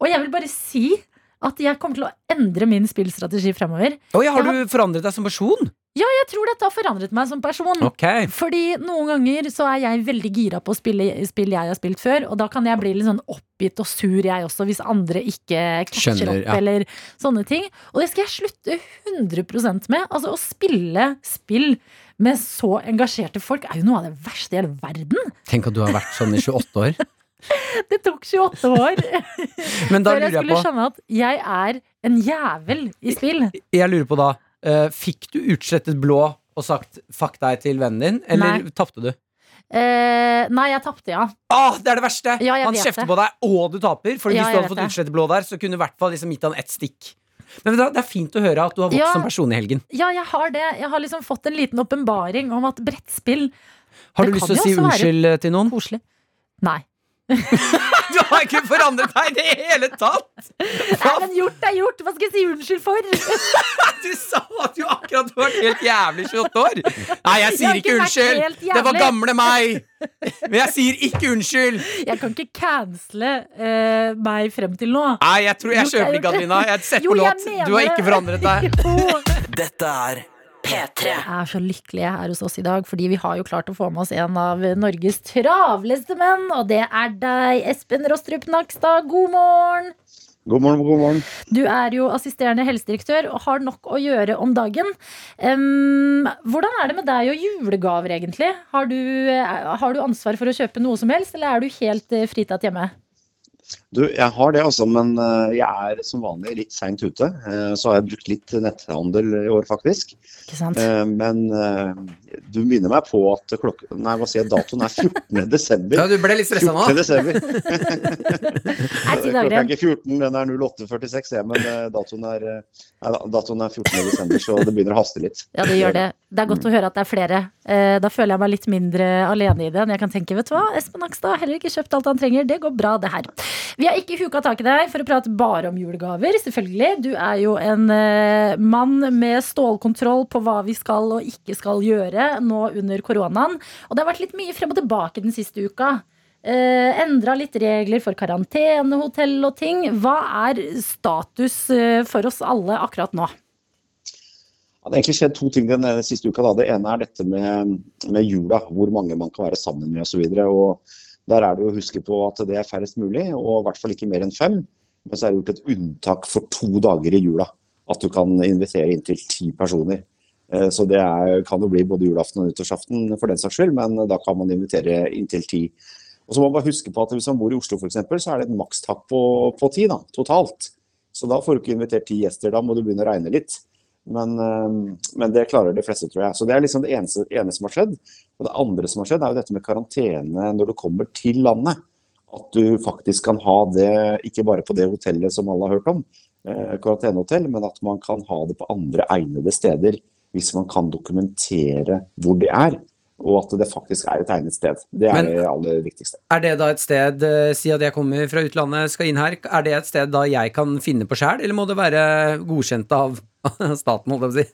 Speaker 2: Og jeg vil bare si at jeg kommer til å endre min spillstrategi fremover.
Speaker 3: Oi, har
Speaker 2: Ja.
Speaker 3: du forandret deg som person?
Speaker 2: Jeg tror dette har forandret meg som person.
Speaker 3: Ok.
Speaker 2: Fordi noen ganger så er jeg veldig gira på å spille spill jeg har spilt før, og da kan jeg bli litt sånn oppgitt og sur jeg også, hvis andre ikke catcher
Speaker 3: Skjønner,
Speaker 2: opp
Speaker 3: ja.
Speaker 2: eller sånne ting. Og det skal jeg slutte 100 med. Altså å spille spill med så engasjerte folk er jo noe av det verste i hele verden.
Speaker 3: Tenk at du har vært sånn i 28 år.
Speaker 2: Det tok 28 år
Speaker 3: Men da
Speaker 2: før jeg
Speaker 3: lurer jeg
Speaker 2: skulle
Speaker 3: på
Speaker 2: skjønne at jeg er en jævel i spill.
Speaker 3: Jeg lurer på da, eh, fikk du utslettet blå og sagt fuck deg til vennen din, eller
Speaker 2: Nei.
Speaker 3: tapte du?
Speaker 2: Eh, nei, jeg tapte, ja.
Speaker 3: Ah, det er det verste!
Speaker 2: Ja, jeg
Speaker 3: han
Speaker 2: vet
Speaker 3: kjefter
Speaker 2: det.
Speaker 3: på deg, og du taper. For
Speaker 2: Ja,
Speaker 3: hvis du
Speaker 2: jeg
Speaker 3: hadde
Speaker 2: vet
Speaker 3: fått
Speaker 2: det.
Speaker 3: utslett blå der, så kunne du i hvert fall liksom gitt han ett stikk. Men vet du hva, det er fint å høre at du har vokst
Speaker 2: Ja.
Speaker 3: som person i helgen.
Speaker 2: Ja, jeg har det. Jeg har liksom fått en liten åpenbaring om at brettspill
Speaker 3: Har
Speaker 2: Det
Speaker 3: du lyst
Speaker 2: kan
Speaker 3: til å
Speaker 2: jo
Speaker 3: si
Speaker 2: også være-
Speaker 3: unnskyld eh, til noen?
Speaker 2: Koselig. Nei.
Speaker 3: Du har ikke forandret deg i det hele tatt!
Speaker 2: Nei, men gjort er gjort! Hva skal jeg si unnskyld for?
Speaker 3: Du sa at du akkurat var helt jævlig 28 år! Nei, jeg
Speaker 2: Jeg har
Speaker 3: sier ikke
Speaker 2: ikke vært
Speaker 3: unnskyld!
Speaker 2: helt
Speaker 3: Det var
Speaker 2: jævlig.
Speaker 3: gamle meg! Men jeg sier ikke unnskyld!
Speaker 2: Jeg kan ikke cancele eh, meg frem til nå.
Speaker 3: Nei, jeg tror jeg
Speaker 2: Jo, jeg
Speaker 3: kjøper
Speaker 2: gjorde
Speaker 3: ikke,
Speaker 2: det.
Speaker 3: Adelina. Jeg setter
Speaker 2: Jo,
Speaker 3: på
Speaker 2: jeg
Speaker 3: låt.
Speaker 2: mener
Speaker 3: Du har ikke
Speaker 2: det.
Speaker 3: forandret deg.
Speaker 2: Jo.
Speaker 5: Dette er
Speaker 1: P3.
Speaker 2: Jeg er så lykkelig her hos oss i dag, fordi vi har jo klart å få med oss en av Norges travleste menn, og det er deg, Espen Rostrup Nakstad. God morgen!
Speaker 10: God morgen, god morgen.
Speaker 2: Du er jo assisterende helsedirektør og har nok å gjøre om dagen. Em, hvordan er det med deg og julegaver, egentlig? Har du, eh, har du ansvar for å kjøpe noe som helst, eller er du helt eh, fritatt hjemme?
Speaker 10: Du, jeg har det altså, men eh, jeg er som vanlig litt seint ute. Eh, Så har jeg brukt litt netthandel i år, faktisk.
Speaker 2: Ikke sant?
Speaker 10: Eh, Men eh, du minner meg på at klokka Nei, hva sier jeg, datoen er 14.
Speaker 3: Ja,
Speaker 10: desember.
Speaker 3: du ble litt stressa nå.
Speaker 10: 14. desember.
Speaker 2: Er ti dager
Speaker 10: Klokka er
Speaker 2: igjen.
Speaker 10: ikke 14, den er 08.46, jeg, men eh, datoen er, eh, nei, da- datoen er 14. desember, så det begynner å haste litt.
Speaker 2: Ja, det gjør det. Det er godt å høre at det er flere. Eh, Da føler jeg meg litt mindre alene i det. enn Jeg kan tenke, vet du hva, Espen Nakstad har heller ikke kjøpt alt han trenger. Det går bra, det her. Vi har ikke huka tak i deg for å prate bare om julegaver, selvfølgelig. Du er jo en eh, mann med stålkontroll på hva vi skal og ikke skal gjøre nå under koronaen. Og det har vært litt mye frem og tilbake den siste uka. Eh, endra litt regler for karantenehotell og ting. Hva er status eh, for oss alle akkurat nå?
Speaker 10: Ja, Det har egentlig skjedd to ting den eh, siste uka. da. Det ene er dette med, med jula, hvor mange man kan være sammen med osv. Der er det jo å huske på at det er færrest mulig, og i hvert fall ikke mer enn fem. Men så er det gjort et unntak for to dager i jula, at du kan invitere inntil ti personer. Eh, Så det er, kan jo bli både julaften og nyttårsaften for den saks skyld, men da kan man invitere inntil ti. Og så må man bare huske på at Hvis man bor i Oslo for eksempel, så er det et makstak på, på ti da, totalt. Så da får du ikke invitert ti gjester, da må du begynne å regne litt. Men, eh, men det klarer de fleste, tror jeg. Så Det er liksom det eneste, ene som har skjedd. Og det andre som har skjedd, er jo dette med karantene når du kommer til landet. At du faktisk kan ha det ikke bare på det hotellet som alle har hørt om, eh, karantenehotell, men at man kan ha det på andre egnede steder hvis man kan dokumentere hvor det er. Og at det faktisk er et egnet sted. Det er
Speaker 3: Men-
Speaker 10: det aller viktigste.
Speaker 3: Er det da et sted, eh, si at jeg kommer fra utlandet, skal inn her, er det et sted da jeg kan finne på sjæl, eller må det være godkjent av staten, holdt jeg på å si?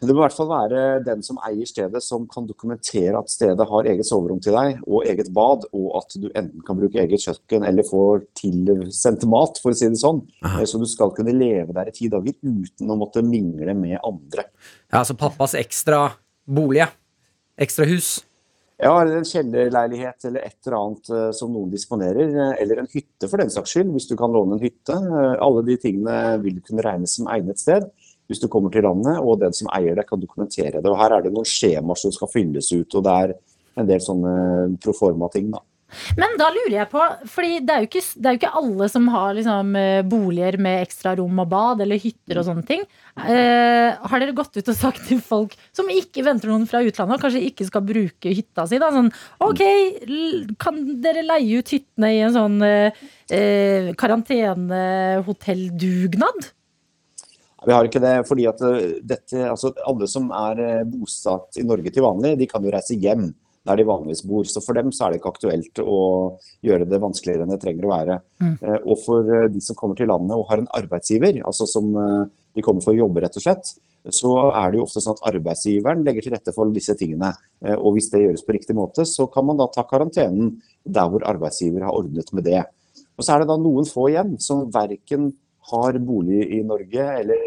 Speaker 10: Det må i hvert fall være den som eier stedet, som kan dokumentere at stedet har eget soverom til deg og eget bad, og at du enten kan bruke eget kjøkken eller få tilsendt mat, for å si det sånn.
Speaker 3: Aha.
Speaker 10: Så du skal kunne leve der i ti dager uten å måtte mingle med andre.
Speaker 3: Ja, altså pappas ekstra bolig, ja. Ekstra hus.
Speaker 10: Ja, eller en kjellerleilighet eller et eller annet eh, som noen disponerer, eh, eller en hytte for den saks skyld, hvis du kan låne en hytte. Eh, Alle de tingene vil kunne regnes som egnet sted hvis du kommer til landet, og den som eier det kan dokumentere det. Og Her er det noen skjemaer som skal fylles ut, og det er en del sånne proforma-ting, da.
Speaker 2: Men da lurer jeg på, fordi det er jo ikke, det er jo ikke alle som har liksom, eh, boliger med ekstra rom og bad eller hytter og sånne ting. Eh, har dere gått ut og sagt til folk som ikke venter noen fra utlandet, og kanskje ikke skal bruke hytta si, da, sånn OK, l- kan dere leie ut hyttene i en sånn eh, eh, karantenehotelldugnad?
Speaker 10: Vi har ikke det, fordi at eh, dette, altså alle som er eh, bosatt i Norge til vanlig, de kan jo reise hjem der de vanligvis bor. Så for dem så er det ikke aktuelt å gjøre det vanskeligere enn det trenger å være.
Speaker 11: Mm.
Speaker 10: Eh, Og for eh, de som kommer til landet og har en arbeidsgiver, altså som eh, de kommer for å jobbe, rett og slett, så er det jo ofte sånn at arbeidsgiveren legger til rette for disse tingene. Eh, Og hvis det gjøres på riktig måte, så kan man da ta karantenen der hvor arbeidsgiver har ordnet med det. Og så er det da noen få igjen som verken har bolig i Norge eller,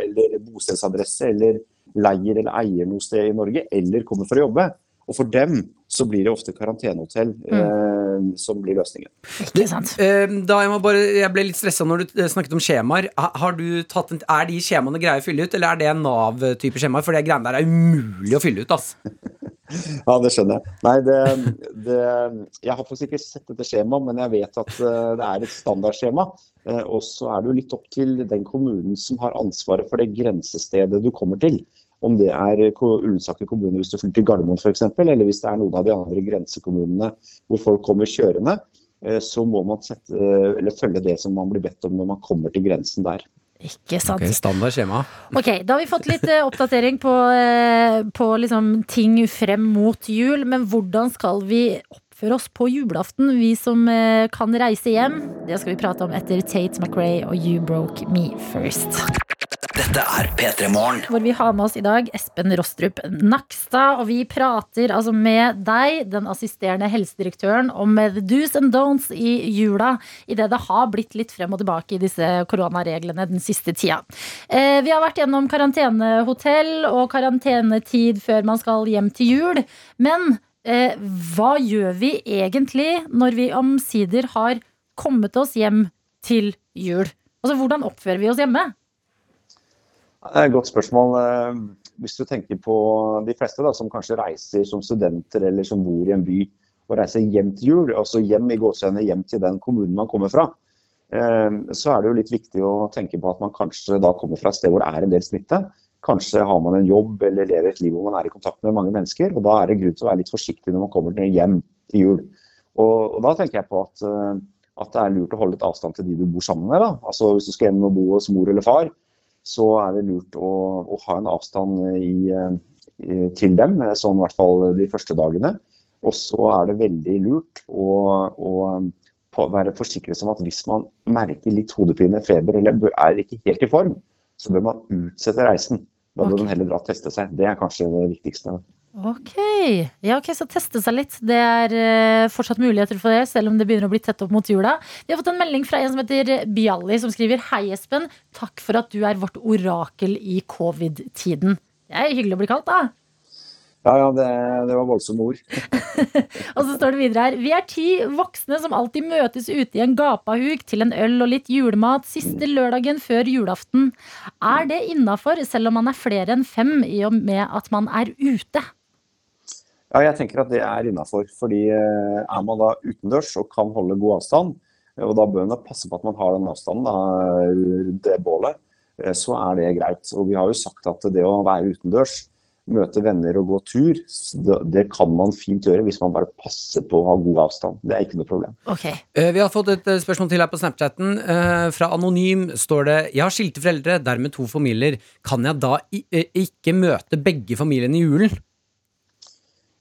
Speaker 10: eller bostedsadresse eller leier eller eier noe sted i Norge, eller kommer for å jobbe. Og for dem så blir det ofte karantenehotell eh, som blir løsningen.
Speaker 2: Ikke sant.
Speaker 3: Ehm, Da jeg, må bare, jeg ble litt stressa når du eh, snakket om skjemaer. Ha- Har du tatt en, er de skjemaene greie å fylle ut, eller er det Nav-type skjemaer? For det greiene der er umulig å fylle ut. ass
Speaker 10: Ja, det skjønner jeg. Nei, det, det, jeg har faktisk ikke sett dette skjemaet, men jeg vet at eh, det er et standardskjema. Eh, Og så er det jo litt opp til den kommunen som har ansvaret for det grensestedet du kommer til. Om det er ko- Ullensaker kommune hvis du flytter til Gardermoen f.eks., eller hvis det er noen av de andre grensekommunene hvor folk kommer kjørende, eh, så må man sette, eh, eller følge det som man blir bedt om når man kommer til grensen der.
Speaker 2: Ikke sant.
Speaker 3: Ok, standard skjema.
Speaker 2: Ok, Da har vi fått litt eh, oppdatering på, eh, på liksom ting frem mot jul. Men hvordan skal vi oppføre oss på julaften, vi som eh, kan reise hjem? Det skal vi prate om etter Tate McRae og You Broke Me First.
Speaker 5: Dette er P3 Morgen.
Speaker 2: Hvor vi har med oss i dag Espen Rostrup Nakstad. Og vi prater altså med deg, den assisterende helsedirektøren, om the do's and don'ts i jula. Idet det har blitt litt frem og tilbake i disse koronareglene den siste tida. Eh, vi har vært gjennom karantenehotell og karantenetid før man skal hjem til jul. Men eh, hva gjør vi egentlig når vi omsider har kommet oss hjem til jul? Altså, hvordan oppfører vi oss hjemme?
Speaker 10: Det er et godt spørsmål. Eh, Hvis du tenker på de fleste da, som kanskje reiser som studenter eller som bor i en by og reiser hjem til jul, altså hjem i gåseøynene, hjem til den kommunen man kommer fra, eh, så er det jo litt viktig å tenke på at man kanskje da kommer fra et sted hvor det er en del smitte. Kanskje har man en jobb eller lever et liv hvor man er i kontakt med mange mennesker, og da er det grunn til å være litt forsiktig når man kommer til hjem til jul. Og, og da tenker jeg på at, eh, at det er lurt å holde litt avstand til de du bor sammen med. Da. Altså Hvis du skal hjem og bo hos mor eller far, så er det lurt å, å ha en avstand i, eh, til dem, eh, sånn i hvert fall de første dagene. Og så er det veldig lurt å, å på- være forsikret om at hvis man merker litt hodepine, feber eller bø- er ikke helt i form, så bør man utsette reisen. Da bør man heller dra og teste seg. Det er kanskje det viktigste.
Speaker 2: Ok, ja ok, så teste seg litt Det er eh, fortsatt muligheter for det Selv om det begynner å bli tett opp mot jula Vi har fått en melding fra en som heter Bialli Som skriver, hei Espen, takk for at du er vårt orakel i covid-tiden Det er hyggelig å bli kalt da
Speaker 10: Ja, ja, det, det var voldsomme ord.
Speaker 2: Og så står det videre her Vi er ti voksne som alltid møtes ute i en gapahuk Til en øl og litt julemat Siste lørdagen før julaften Er det innenfor, selv om man er flere enn fem I og med at man er ute?
Speaker 10: Ja, jeg tenker at det er innafor. Fordi eh, er man da utendørs og kan holde god avstand, eh, og da bør man passe på at man har den avstanden da, rundt det bålet, eh, så er det greit. Og vi har jo sagt at det å være utendørs, møte venner og gå tur, s- det, det kan man fint gjøre hvis man bare passer på å ha god avstand. Det er ikke noe problem.
Speaker 3: Eh, Vi har fått et eh, spørsmål til her på Snapchatten. Eh, Fra Anonym står det Jeg har skilte foreldre, dermed to familier. Kan jeg da i- eh, ikke møte begge familiene i julen?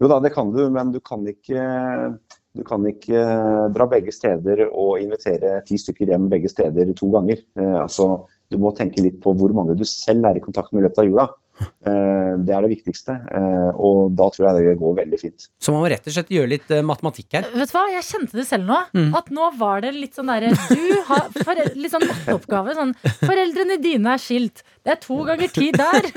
Speaker 10: Jo da, det kan du, men du kan ikke, du kan ikke dra begge steder og invitere ti stykker hjem begge steder to ganger. Eh, altså, du må tenke litt på hvor mange du selv er i kontakt med i løpet av jula. Eh, det er det viktigste, eh, og da tror jeg det går veldig fint.
Speaker 3: Så man må rett og slett gjøre litt eh, matematikk her.
Speaker 2: Vet du hva, jeg kjente det selv nå.
Speaker 3: Mm.
Speaker 2: At nå var det litt sånn derre Du har fore, litt sånn matteoppgave. Sånn, foreldrene dine er skilt. Det er to ganger ti der.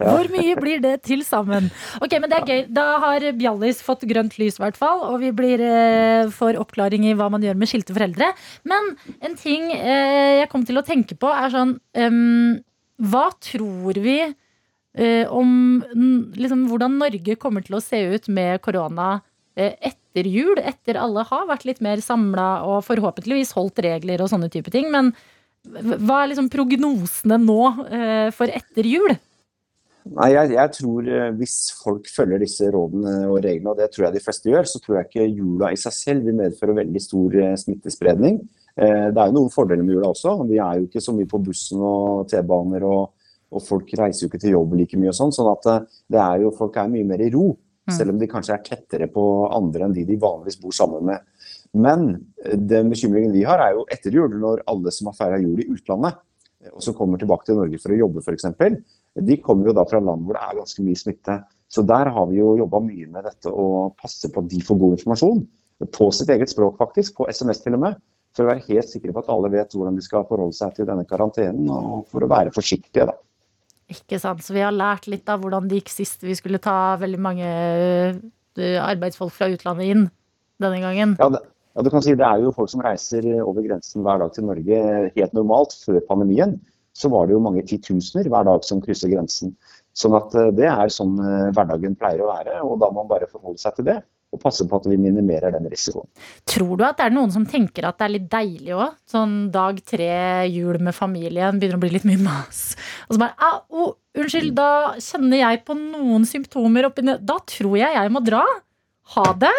Speaker 2: Hvor mye blir det til sammen? Ok, men det er gøy. Da har Bjallis fått grønt lys, i hvert fall. Og vi blir eh, får oppklaring i hva man gjør med skilte foreldre. Men en ting eh, jeg kom til å tenke på, er sånn ehm, Hva tror vi eh, om n- liksom, hvordan Norge kommer til å se ut med korona eh, etter jul, etter alle har vært litt mer samla og forhåpentligvis holdt regler og sånne type ting. Men hv- hva er liksom prognosene nå eh, for etter jul?
Speaker 10: Nei, jeg, jeg tror eh, hvis folk følger disse rådene og reglene, og det tror jeg de fleste gjør, så tror jeg ikke jula i seg selv vil medføre veldig stor eh, smittespredning. Eh, Det er jo noen fordeler med jula også. Vi er jo ikke så mye på bussen og T-baner, og, og folk reiser jo ikke til jobb like mye og sånn. sånn at eh, det er jo, folk er mye mer i ro, selv om de kanskje er tettere på andre enn de de vanligvis bor sammen med. Men eh, den bekymringen vi har, er jo etter jul, når alle som har feira jul i utlandet, eh, og som kommer tilbake til Norge for å jobbe f.eks., de kommer jo da fra land hvor det er ganske mye smitte. Så der har vi jo jobba mye med dette og passe på at de får god informasjon. På sitt eget språk, faktisk. På SMS til og med. For å være helt sikre på at alle vet hvordan de skal forholde seg til denne karantenen. Og for å være forsiktige, da.
Speaker 2: Ikke sant, så vi har lært litt av hvordan det gikk sist vi skulle ta veldig mange eh, arbeidsfolk fra utlandet inn denne gangen.
Speaker 10: Ja, det, ja, du kan si det er jo folk som reiser over grensen hver dag til Norge helt normalt. Før pandemien så var det jo mange titusener hver dag som krysser grensen. Sånn at eh, det er sånn eh, hverdagen pleier å være, og da må man bare forholde seg til det. Og passe på at vi minimerer den risikoen.
Speaker 2: Tror du at det er noen som tenker at det er litt deilig òg? Sånn dag tre, jul med familien, begynner å bli litt mye mas. Og så bare «Au, oh, Unnskyld, da kjenner jeg på noen symptomer oppi ned... Da tror jeg jeg må dra. Ha det.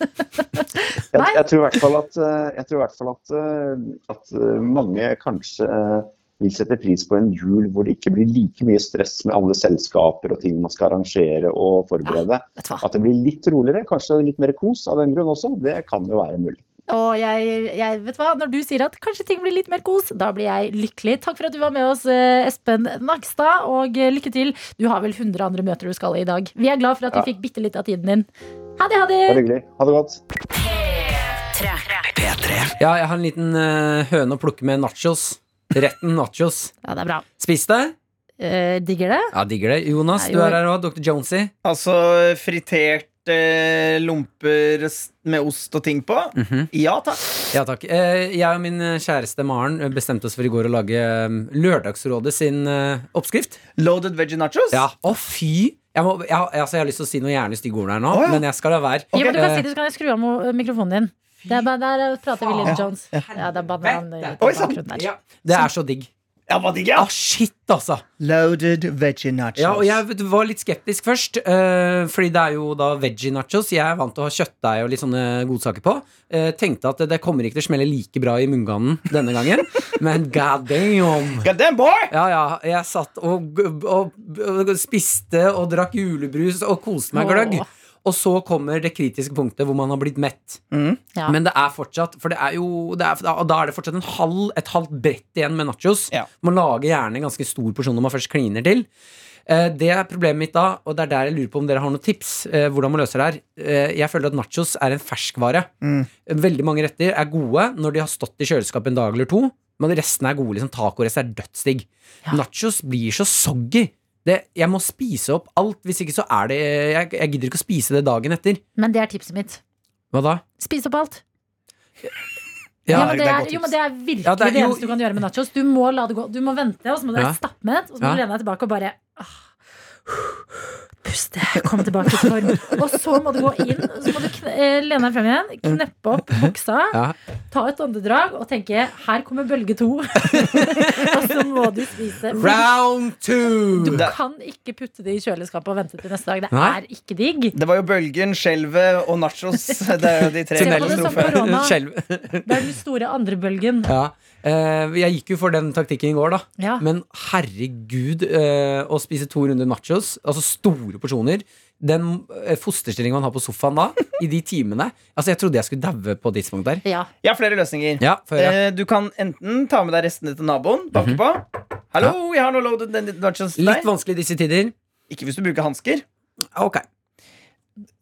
Speaker 10: Jeg, jeg tror i hvert fall at, eh, jeg tror i hvert fall at, eh, at eh, mange kanskje eh, vil sette pris på en jul hvor det ikke blir like mye stress med alle selskaper og ting man skal arrangere og forberede. at det blir litt roligere, kanskje litt mer kos av den grunn også. Det kan jo være mulig.
Speaker 2: Og jeg, jeg vet hva, når du sier at kanskje ting blir litt mer kos, da blir jeg lykkelig. Takk for at du var med oss, eh, Espen Nakstad, og eh, lykke til. Du har vel 100 andre møter du skal i i dag. Vi er glad for at vi
Speaker 10: Ja.
Speaker 2: fikk bitte litt av tiden din. Ha det, ha det.
Speaker 10: Bare hyggelig. Ha det godt.
Speaker 3: Ja, jeg har en liten eh, høne å plukke med nachos. Retten nachos.
Speaker 2: Ja, det er bra.
Speaker 3: Spist det?
Speaker 2: Eh, digger det.
Speaker 3: Ja, digger det. Jonas,
Speaker 2: Nei,
Speaker 3: du
Speaker 2: jo.
Speaker 3: er her òg. Dr. Jonesy.
Speaker 4: Altså friterte eh, lomper s- med ost og ting på? Ja takk.
Speaker 3: Ja, takk. Eh, Jeg og min kjæreste Maren eh, bestemte oss for i går å lage eh, Lørdagsrådet sin eh, oppskrift.
Speaker 4: Loaded veggie nachos?
Speaker 3: Ja. Å, fy! Jeg, må, jeg, altså, jeg har lyst til å si noe jævlig stygge ord her nå,
Speaker 4: Å, ja.
Speaker 3: men jeg skal la være.
Speaker 2: Ja, men du kan si
Speaker 3: Eh,
Speaker 2: det, så kan jeg skru av mo- mikrofonen din. Det er, ba- der eh, prater vi litt Jones. Ja, det er banan i
Speaker 4: Oi, sant.
Speaker 2: bakgrunnen der.
Speaker 3: Ja, det er så digg.
Speaker 4: Ja, hva digg, ja.
Speaker 3: Ah, shit, altså!
Speaker 4: Loaded veggie nachos.
Speaker 3: Ja, og jeg vet- var litt skeptisk først, eh, fordi det er jo da veggie nachos. Jeg er vant til å ha kjøttdeig og litt sånne godsaker på. Eh, tenkte at det kommer ikke til å smelle like bra i munnganen denne gangen, men god damn!
Speaker 4: God damn, boy!
Speaker 3: Ja, ja, jeg satt og, og, og, spiste og drakk julebrus og koste meg gløgg.
Speaker 2: Åh.
Speaker 3: Og så kommer det kritiske punktet hvor man har blitt mett.
Speaker 4: Mm.
Speaker 2: Ja.
Speaker 3: Men det er fortsatt For det er jo det er, og Da er det fortsatt en halv, et halvt brett igjen med nachos.
Speaker 4: Ja.
Speaker 3: Man lager gjerne en ganske stor porsjon når man først kliner til. Eh, Det er problemet mitt da, og det er der jeg lurer på om dere har noen tips. eh, Hvordan man løser det her Eh, Jeg føler at nachos er en ferskvare.
Speaker 4: Mm.
Speaker 3: Veldig mange retter er gode når de har stått i kjøleskapet en dag eller to, men resten er gode. liksom Tacorest er dødsdigg. Nachos blir så soggy. Det, jeg må spise opp alt, hvis ikke så er det Jeg, jeg gidder ikke å spise det dagen etter.
Speaker 2: Men det er tipset mitt.
Speaker 3: Hva da?
Speaker 2: Spis opp alt.
Speaker 3: Ja,
Speaker 2: Ja, men det
Speaker 4: det er
Speaker 2: er, jo,
Speaker 4: godt tips.
Speaker 2: men det er virkelig
Speaker 3: Ja, det er
Speaker 2: det
Speaker 3: jo-
Speaker 2: eneste du kan gjøre med nachos. Du må la det gå. Du må vente, og så må du
Speaker 3: Ja.
Speaker 2: stappe med det. Og så må du
Speaker 3: Ja.
Speaker 2: lene deg tilbake og bare ah, Puste, komme tilbake til form. Og så må du gå inn, så må du kn eh, lene deg frem igjen, kneppe opp buksa,
Speaker 3: Ja.
Speaker 2: ta et åndedrag og tenke 'her kommer bølge to'. og så må du spise.
Speaker 3: Round two!
Speaker 2: Du kan ikke putte det i kjøleskapet og vente til neste dag. Det
Speaker 3: Nei.
Speaker 2: er ikke digg.
Speaker 4: Det var jo bølgen, skjelvet og nachos. Det er jo de tre
Speaker 2: Se på det som
Speaker 4: katastrofene.
Speaker 2: korona.
Speaker 3: Skjelv.
Speaker 2: Det er den store andrebølgen.
Speaker 3: Ja. Eh, jeg gikk jo for den taktikken i går, da.
Speaker 2: Ja.
Speaker 3: Men herregud, eh, å spise to runder nachos, altså store porsjoner Den eh, fosterstillingen man har på sofaen da, i de timene Altså, jeg trodde jeg skulle daue på et tidspunkt der.
Speaker 2: Ja.
Speaker 4: Jeg har flere løsninger.
Speaker 3: Ja, for, ja.
Speaker 4: Eh, Du kan enten ta med deg restene til naboen. Banke på. Hallo, jeg har noe loaded nachos til
Speaker 3: Litt
Speaker 4: deg.
Speaker 3: vanskelig i disse tider.
Speaker 4: Ikke hvis du bruker hansker.
Speaker 3: Ok.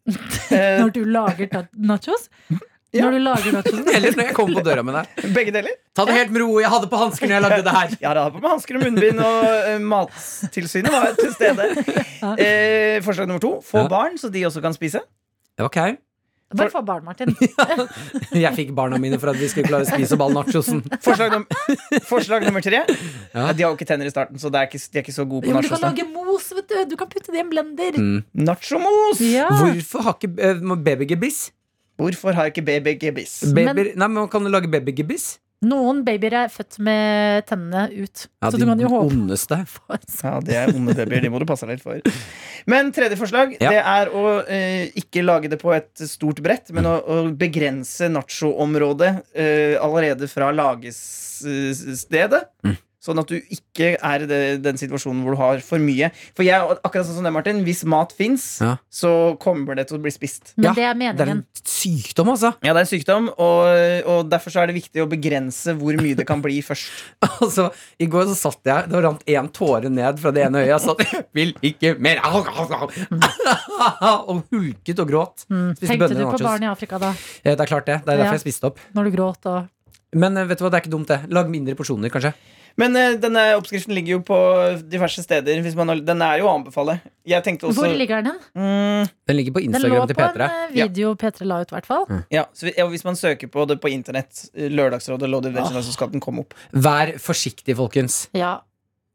Speaker 4: Eh,
Speaker 2: Når du lager ta- nachos?
Speaker 4: Ja.
Speaker 2: Når du lager nachos
Speaker 3: Eller når jeg kommer på døra med deg.
Speaker 4: begge deler.
Speaker 3: Ta det helt med ro. Jeg hadde på hansker når jeg lagde det her.
Speaker 4: Jeg hadde hatt på meg hansker og munnbind, og eh, Mattilsynet var til stede. Eh, forslag nummer to. Få
Speaker 3: Ja.
Speaker 4: barn, så de også kan spise.
Speaker 3: Ok.
Speaker 2: Bare få barn, Martin.
Speaker 3: Jeg fikk barna mine for at vi skulle klare å spise opp all nachosen.
Speaker 4: Forslag, num forslag nummer tre. Ja, De har jo ikke tenner i starten, så det er ikke, de er ikke så gode
Speaker 2: Jo,
Speaker 4: på
Speaker 2: men du kan
Speaker 4: nachos.
Speaker 2: lage mos, vet du. Du kan putte det i en blender.
Speaker 3: Mm.
Speaker 4: Nachomos!
Speaker 2: Ja.
Speaker 3: Hvorfor har ikke eh, må babygebiss?
Speaker 4: Hvorfor har ikke BB gebiss?
Speaker 2: Men-
Speaker 3: Babyer, nei, men Kan du lage babygebiss?
Speaker 2: Noen babyer er født med tennene ut, så du kan jo håpe
Speaker 3: ondeste.
Speaker 2: på en
Speaker 4: Ja, det er onde babyer. De må du passe deg litt for. Men tredje forslag
Speaker 3: Ja.
Speaker 4: det er å eh, ikke lage det på et stort brett, men å, å begrense nachoområdet eh, allerede fra lagestedet.
Speaker 3: Mm.
Speaker 4: Sånn at du ikke er i det- den situasjonen hvor du har for mye. For jeg, er akkurat sånn som deg, Martin, hvis mat fins,
Speaker 3: Ja.
Speaker 4: så kommer det til å bli spist.
Speaker 2: Men
Speaker 3: Ja,
Speaker 2: det er
Speaker 3: Det er
Speaker 2: meningen.
Speaker 3: en sykdom, altså.
Speaker 4: Ja, det er en sykdom, og, og derfor så er det viktig å begrense hvor mye det kan bli først.
Speaker 3: Altså, I går så satt jeg Det rant én tåre ned fra det ene øyet. Jeg satt 'Jeg vil ikke mer!' Au, au, au. og hulket og gråt.
Speaker 2: Mm.
Speaker 3: Spiste
Speaker 2: Tenkte
Speaker 3: bønner
Speaker 2: du
Speaker 3: og
Speaker 2: på
Speaker 3: nachos.
Speaker 2: barn i Afrika da,
Speaker 3: Eh, Det er klart det. Det er
Speaker 2: Ja.
Speaker 3: derfor jeg spiste opp.
Speaker 2: når du gråt og
Speaker 3: Men eh, vet du hva, det er ikke dumt, det. Lag mindre porsjoner, kanskje.
Speaker 4: Men eh, denne oppskriften ligger jo på diverse steder. Hvis man har, den er jo å anbefale. Jeg tenkte også
Speaker 2: Hvor ligger den hen?
Speaker 4: Mm,
Speaker 3: Den ligger på
Speaker 2: Den lå
Speaker 3: Instagram til
Speaker 2: på en
Speaker 3: P3.
Speaker 2: eh, video P3 la ut, i hvert fall.
Speaker 4: ja, så vi- ja, Hvis man søker på det på internett, eh, Lørdagsrådet, Lodder
Speaker 2: Ah.
Speaker 4: Veggen, så skal den komme opp.
Speaker 3: Vær forsiktig, folkens.
Speaker 2: Ja.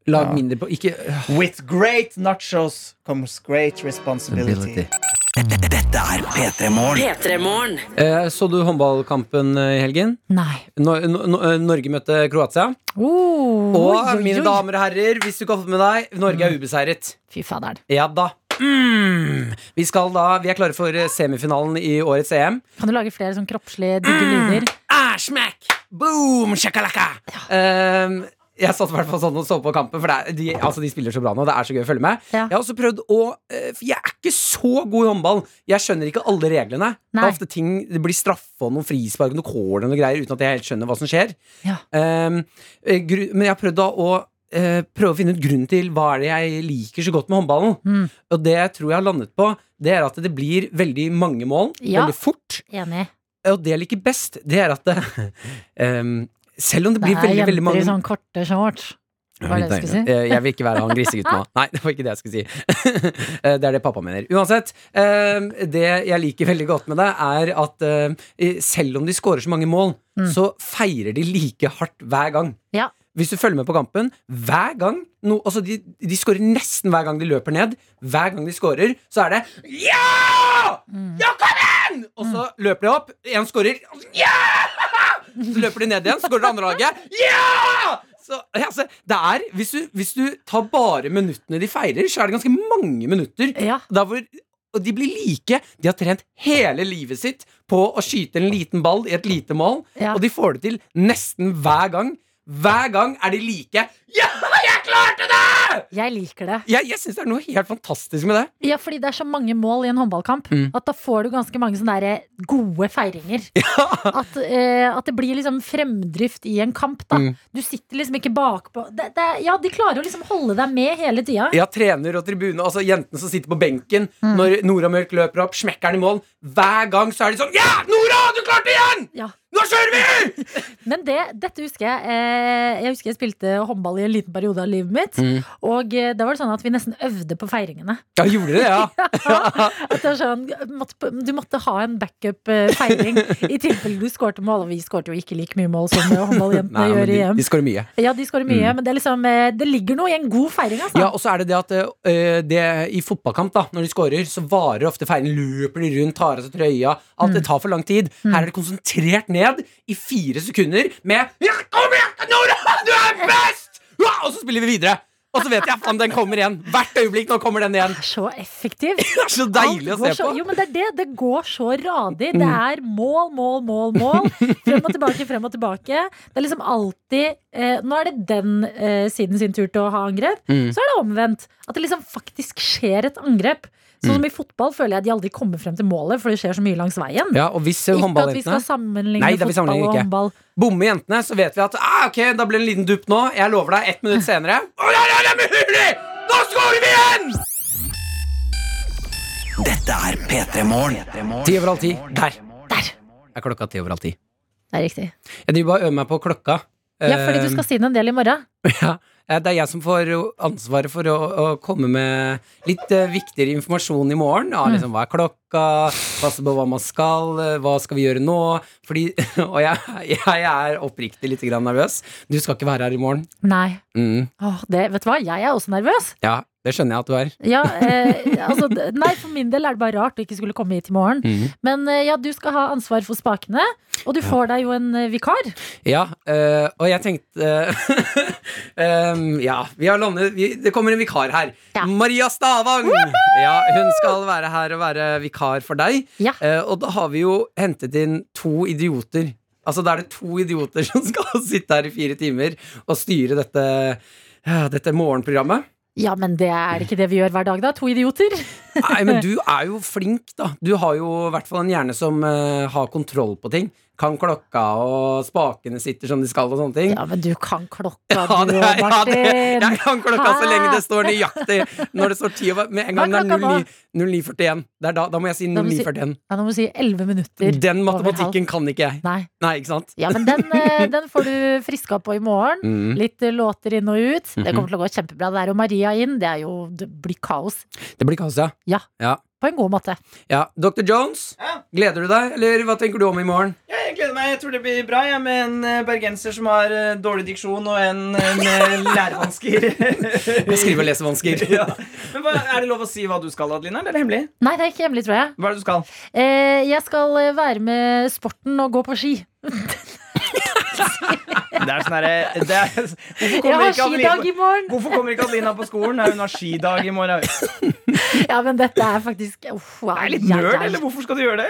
Speaker 3: Lag
Speaker 4: Ja.
Speaker 3: mindre på Ikke Øh.
Speaker 4: With great nachos comes great responsibility.
Speaker 5: Dette er P3 Morgen.
Speaker 1: P3 Morgen.
Speaker 3: Eh, Så du håndballkampen eh, i helgen?
Speaker 2: Nei.
Speaker 3: Nor eh, Nor- Norge møtte Kroatia.
Speaker 2: Oh,
Speaker 3: Og
Speaker 2: oi, oi,
Speaker 3: mine
Speaker 2: oi.
Speaker 3: damer og herrer, hvis du ikke har fått med deg, Norge er ubeseiret.
Speaker 2: Fy faderen.
Speaker 3: Ja da. Mm. Vi, skal da vi er klare for eh, semifinalen i årets EM.
Speaker 2: Kan du lage flere sånn kroppslige digge lyder?
Speaker 3: Ah, smack! Boom! Shakalaka! Ehm, jeg satt i hvert fall sånn og så på kampen, for det er, de, altså, de spiller så bra nå. Det er så gøy å følge med.
Speaker 2: Ja.
Speaker 3: Jeg har også prøvd å eh, For jeg er ikke så god i håndball. Jeg skjønner ikke alle reglene. Det
Speaker 2: Nei.
Speaker 3: er ofte ting Det blir straffe og noen frispark og noen corner og noen greier uten at jeg helt skjønner hva som skjer.
Speaker 2: Ja.
Speaker 3: Ehm, eh, gru- men jeg har prøvd da å eh, prøve å finne ut grunnen til hva er det jeg liker så godt med håndballen.
Speaker 2: Mm.
Speaker 3: Og det jeg tror jeg har landet på, det er at det blir veldig mange mål
Speaker 2: Ja.
Speaker 3: veldig fort.
Speaker 2: Enig.
Speaker 3: Og det jeg liker best, det er at det, ehm, selv om det
Speaker 2: Det
Speaker 3: blir
Speaker 2: er
Speaker 3: veldig,
Speaker 2: jenter
Speaker 3: veldig mange
Speaker 2: i sånn korte shorts. Hva var det du skulle si?
Speaker 3: Eh, Jeg vil ikke være han grisegutten nå. Nei, det var ikke det jeg skulle si. Eh, det er det pappa mener. Uansett, ehm, det jeg liker veldig godt med det, er at ehm, eh, selv om de scorer så mange mål,
Speaker 2: Mm.
Speaker 3: så feirer de like hardt hver gang.
Speaker 2: Ja.
Speaker 3: Hvis du følger med på kampen, hver gang no, altså De, de scorer nesten hver gang de løper ned. Hver gang de scorer, så er det Ja! Ja, kom igjen! Og så løper de opp, én scorer. Ja! Så løper de ned igjen, så går det andre laget. Ja! Så, altså, det er, hvis du, hvis du tar bare minuttene de feirer, så er det ganske mange minutter.
Speaker 2: Ja.
Speaker 3: Der hvor, og de blir like. De har trent hele livet sitt på å skyte en liten ball i et lite mål,
Speaker 2: Ja.
Speaker 3: og de får det til nesten hver gang. Hver gang er de like. Ja, jeg klarte det!
Speaker 2: Jeg liker det.
Speaker 3: Jeg, jeg syns det er noe helt fantastisk med det.
Speaker 2: Ja, fordi det er så mange mål i en håndballkamp
Speaker 3: Mm.
Speaker 2: at da får du ganske mange sånne der eh, gode feiringer. At, eh, at det blir liksom fremdrift i en kamp, da.
Speaker 3: Mm.
Speaker 2: Du sitter liksom ikke bakpå. Det, det, ja, de klarer å liksom holde deg med hele tida.
Speaker 3: Ja, trener og tribune, altså jentene som sitter på benken når Nora Mørk løper opp, smekker den i mål. Hver gang så er de sånn Ja, Nora, du klarte det igjen!
Speaker 2: Ja.
Speaker 3: Nå kjører vi!
Speaker 2: Men det, dette husker jeg. Eh, jeg husker jeg spilte håndball i en liten periode av livet mitt.
Speaker 3: Mm.
Speaker 2: Og eh, da var det sånn at vi nesten øvde på feiringene.
Speaker 3: Ja, gjorde dere det, ja?
Speaker 2: At det er sånn, måtte, du måtte ha en backup-feiring i tilfelle du skårte mål. Og vi skårte jo ikke like mye mål som eh, håndballjentene gjør i EM.
Speaker 3: de skårer mye.
Speaker 2: Ja, de skårer mye, men det, er liksom, eh, det ligger noe i en god feiring, altså.
Speaker 3: Ja, og så er det det at eh, det, i fotballkamp, da, når de scorer, så varer ofte feilen. Løper de rundt, tar av seg trøya. Alt det tar for lang tid.
Speaker 2: Mm.
Speaker 3: Her er det konsentrert ned i fire sekunder med ja, Kom igjen, Nora! Du er best! Ja, og så spiller vi videre. Og så vet jeg faen, den kommer igjen. Hvert øyeblikk nå kommer den igjen.
Speaker 2: Det er så effektivt.
Speaker 3: Det er så deilig å
Speaker 2: Alt går
Speaker 3: se
Speaker 2: så,
Speaker 3: på.
Speaker 2: Jo, men det er det. Det går så radig. Det er mål, mål, mål, mål. Frem og tilbake, frem og tilbake. Det er liksom alltid eh, Nå er det den eh, siden sin tur til å ha angrep.
Speaker 3: Mm.
Speaker 2: Så er det omvendt. At det liksom faktisk skjer et angrep.
Speaker 3: Mm.
Speaker 2: Sånn som i fotball føler jeg de aldri kommer frem til målet, for det skjer så mye langs veien.
Speaker 3: Ja, og hvis eh,
Speaker 2: Ikke at vi
Speaker 3: håndballjentene
Speaker 2: skal sammenligne
Speaker 3: Nei, da, vi
Speaker 2: fotball
Speaker 3: sammenligner
Speaker 2: og
Speaker 3: ikke.
Speaker 2: håndball.
Speaker 3: bommer jentene, så vet vi at ah, ok, da blir det en liten dupp nå. Jeg lover deg, ett minutt senere Å, ja, ja, det er mulig! Nå scorer vi igjen!
Speaker 5: Dette er P3 Morgen.
Speaker 3: Ti over halv ti. Der. Der er klokka ti over halv ti.
Speaker 2: Det er riktig.
Speaker 3: Jeg driver bare og øver meg på klokka.
Speaker 2: Ja, fordi
Speaker 3: Ehm.
Speaker 2: du skal si den en del i morgen.
Speaker 3: Eh, Det er jeg som får jo ansvaret for å, å komme med litt eh, viktigere informasjon i morgen. Ja, liksom, hva er klokka? Passe på hva man skal? eh, Hva skal vi gjøre nå? Fordi, og jeg, jeg er oppriktig litt grann nervøs. Du skal ikke være her i morgen.
Speaker 2: Nei.
Speaker 3: Mm,
Speaker 2: Åh, det, vet du hva, jeg er også nervøs.
Speaker 3: ja, det skjønner jeg at du er.
Speaker 2: Ja, eh, altså, d- nei, for min del er det bare rart å ikke skulle komme hit i morgen.
Speaker 3: Mhm.
Speaker 2: Men eh, ja, du skal ha ansvar for spakene, og du får deg jo en eh, vikar.
Speaker 3: Ja, eh, og jeg tenkte eh, em, Ja, vi har landet vi, Det kommer en vikar her. Maria Stavang! Ja, hun skal være her og være vikar for deg. Eh, og da har vi jo hentet inn to idioter. Altså, da er det to idioter som skal sitte her i fire timer og styre dette, ja, dette morgenprogrammet.
Speaker 2: Ja, men det er ikke det vi gjør hver dag, da. To idioter.
Speaker 3: Nei, men du er jo flink, da. Du har jo i hvert fall en hjerne som eh, har kontroll på ting. Kan klokka, og spakene sitter som de skal, og sånne ting.
Speaker 2: Ja, men du kan klokka,
Speaker 3: Mm. Ja,
Speaker 2: du
Speaker 3: det,
Speaker 2: og
Speaker 3: ja, det,
Speaker 2: Martin.
Speaker 3: jeg kan klokka så
Speaker 2: Hæ?
Speaker 3: lenge det står nøyaktig. Når det står 10 og Med en
Speaker 2: Hva
Speaker 3: gang det
Speaker 2: er
Speaker 3: er
Speaker 2: klokka nå?
Speaker 3: 09 09.41. Det er da, da må jeg si
Speaker 2: Da må du si-
Speaker 3: 09.41.
Speaker 2: Ja, nå må du si elleve minutter.
Speaker 3: Den
Speaker 2: over halv.
Speaker 3: matematikken kan ikke jeg.
Speaker 2: Nei.
Speaker 3: ikke sant?
Speaker 2: Ja, men den, eh, den får du friska på i morgen.
Speaker 3: Mm.
Speaker 2: Litt eh, låter inn og ut. Det
Speaker 3: Mhm.
Speaker 2: kommer til å gå kjempebra. Det er jo Maria inn. Det, er jo, det blir kaos.
Speaker 3: Det blir kaos, ja.
Speaker 2: Ja.
Speaker 3: ja.
Speaker 2: På en god måte.
Speaker 3: ja. Dr. Jones, gleder du deg, eller hva tenker du om i morgen?
Speaker 4: Ja, jeg gleder meg. Jeg tror det blir bra jeg, med en eh, bergenser som har eh, dårlig diksjon, og en eh, med lærevansker.
Speaker 3: Skrive- og lesevansker.
Speaker 4: ja. Men hva, Er det lov å si hva du skal, Adeline? Eller er det hemmelig?
Speaker 2: Nei, det er ikke hemmelig, tror jeg.
Speaker 4: Hva er det du skal?
Speaker 2: Eh, jeg skal eh, være med sporten og gå på ski.
Speaker 4: Det er sånn herre det er- Hvorfor
Speaker 2: Jeg har
Speaker 4: kommer ikke Adelina
Speaker 2: skidag i morgen!
Speaker 4: Hvorfor kommer ikke Adelina på skolen? Nei, hun har skidag i morgen.
Speaker 2: Ja, men dette er faktisk Uff,
Speaker 4: Det er
Speaker 2: ai,
Speaker 4: litt
Speaker 2: ai,
Speaker 4: nerd,
Speaker 2: ai.
Speaker 4: eller hvorfor skal du gjøre det?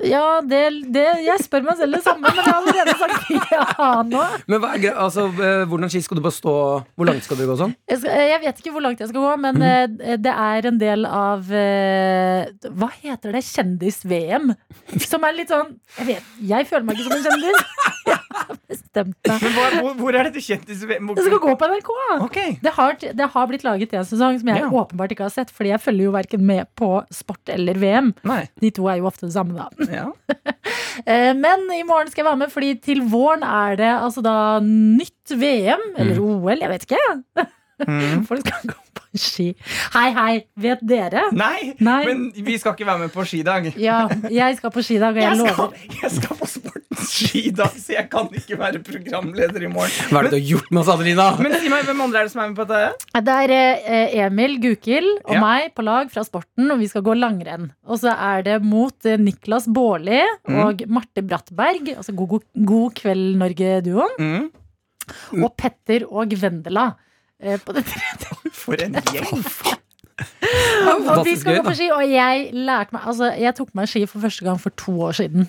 Speaker 2: Ja, det, det Jeg spør meg selv det samme, men jeg har allerede sagt ja nå.
Speaker 3: Men hva er gre altså, eh, Hvordan ski skal du på stå? Hvor langt skal du gå sånn?
Speaker 2: Jeg, skal, eh, jeg vet ikke hvor langt jeg skal gå, men
Speaker 4: Mm.
Speaker 2: eh, det er en del av eh, Hva heter det? Kjendis-VM? Som er litt sånn Jeg vet, jeg føler meg ikke som en kjendis. Jeg har bestemt meg.
Speaker 4: Men hva, hvor, hvor er dette kjendis...
Speaker 2: Det skal gå på NRK.
Speaker 4: Ok.
Speaker 2: Det, har, det har blitt laget en sesong som jeg
Speaker 4: Ja.
Speaker 2: åpenbart ikke har sett, fordi jeg følger jo verken med på sport eller VM.
Speaker 4: Nei.
Speaker 2: De to er jo ofte det samme, da.
Speaker 4: Ja.
Speaker 2: Eh, Men i morgen skal jeg være med, fordi til våren er det altså da nytt VM,
Speaker 4: Mm.
Speaker 2: eller OL, jeg vet ikke. Folk skal gå på ski. Hei, hei, vet dere?
Speaker 4: Nei,
Speaker 2: Nei.
Speaker 4: men vi skal ikke være med på skidag.
Speaker 2: Ja, jeg skal på skidag, og jeg,
Speaker 4: Jeg skal,
Speaker 2: lover.
Speaker 4: jeg skal på sportens skidag, så jeg kan ikke være programleder i morgen.
Speaker 3: Hva er det du har gjort med oss, Adelina?
Speaker 4: Men si meg, hvem andre er det som er med på dette?
Speaker 2: Det er eh, Emil Gukild og
Speaker 4: Ja.
Speaker 2: meg på lag fra Sporten, og vi skal gå langrenn. Og så er det mot eh, Niklas Baarli
Speaker 4: Mm.
Speaker 2: og Marte Brattberg, altså God, god, god kveld Norge-duoen,
Speaker 4: Mm.
Speaker 2: og Petter og Vendela. eh, På det tredje.
Speaker 4: For en gjeng!
Speaker 2: Og vi
Speaker 3: Fantastisk
Speaker 2: skal
Speaker 3: gøy,
Speaker 2: gå på
Speaker 3: da.
Speaker 2: ski, og jeg lærte meg Altså, jeg tok meg ski for første gang for to år siden.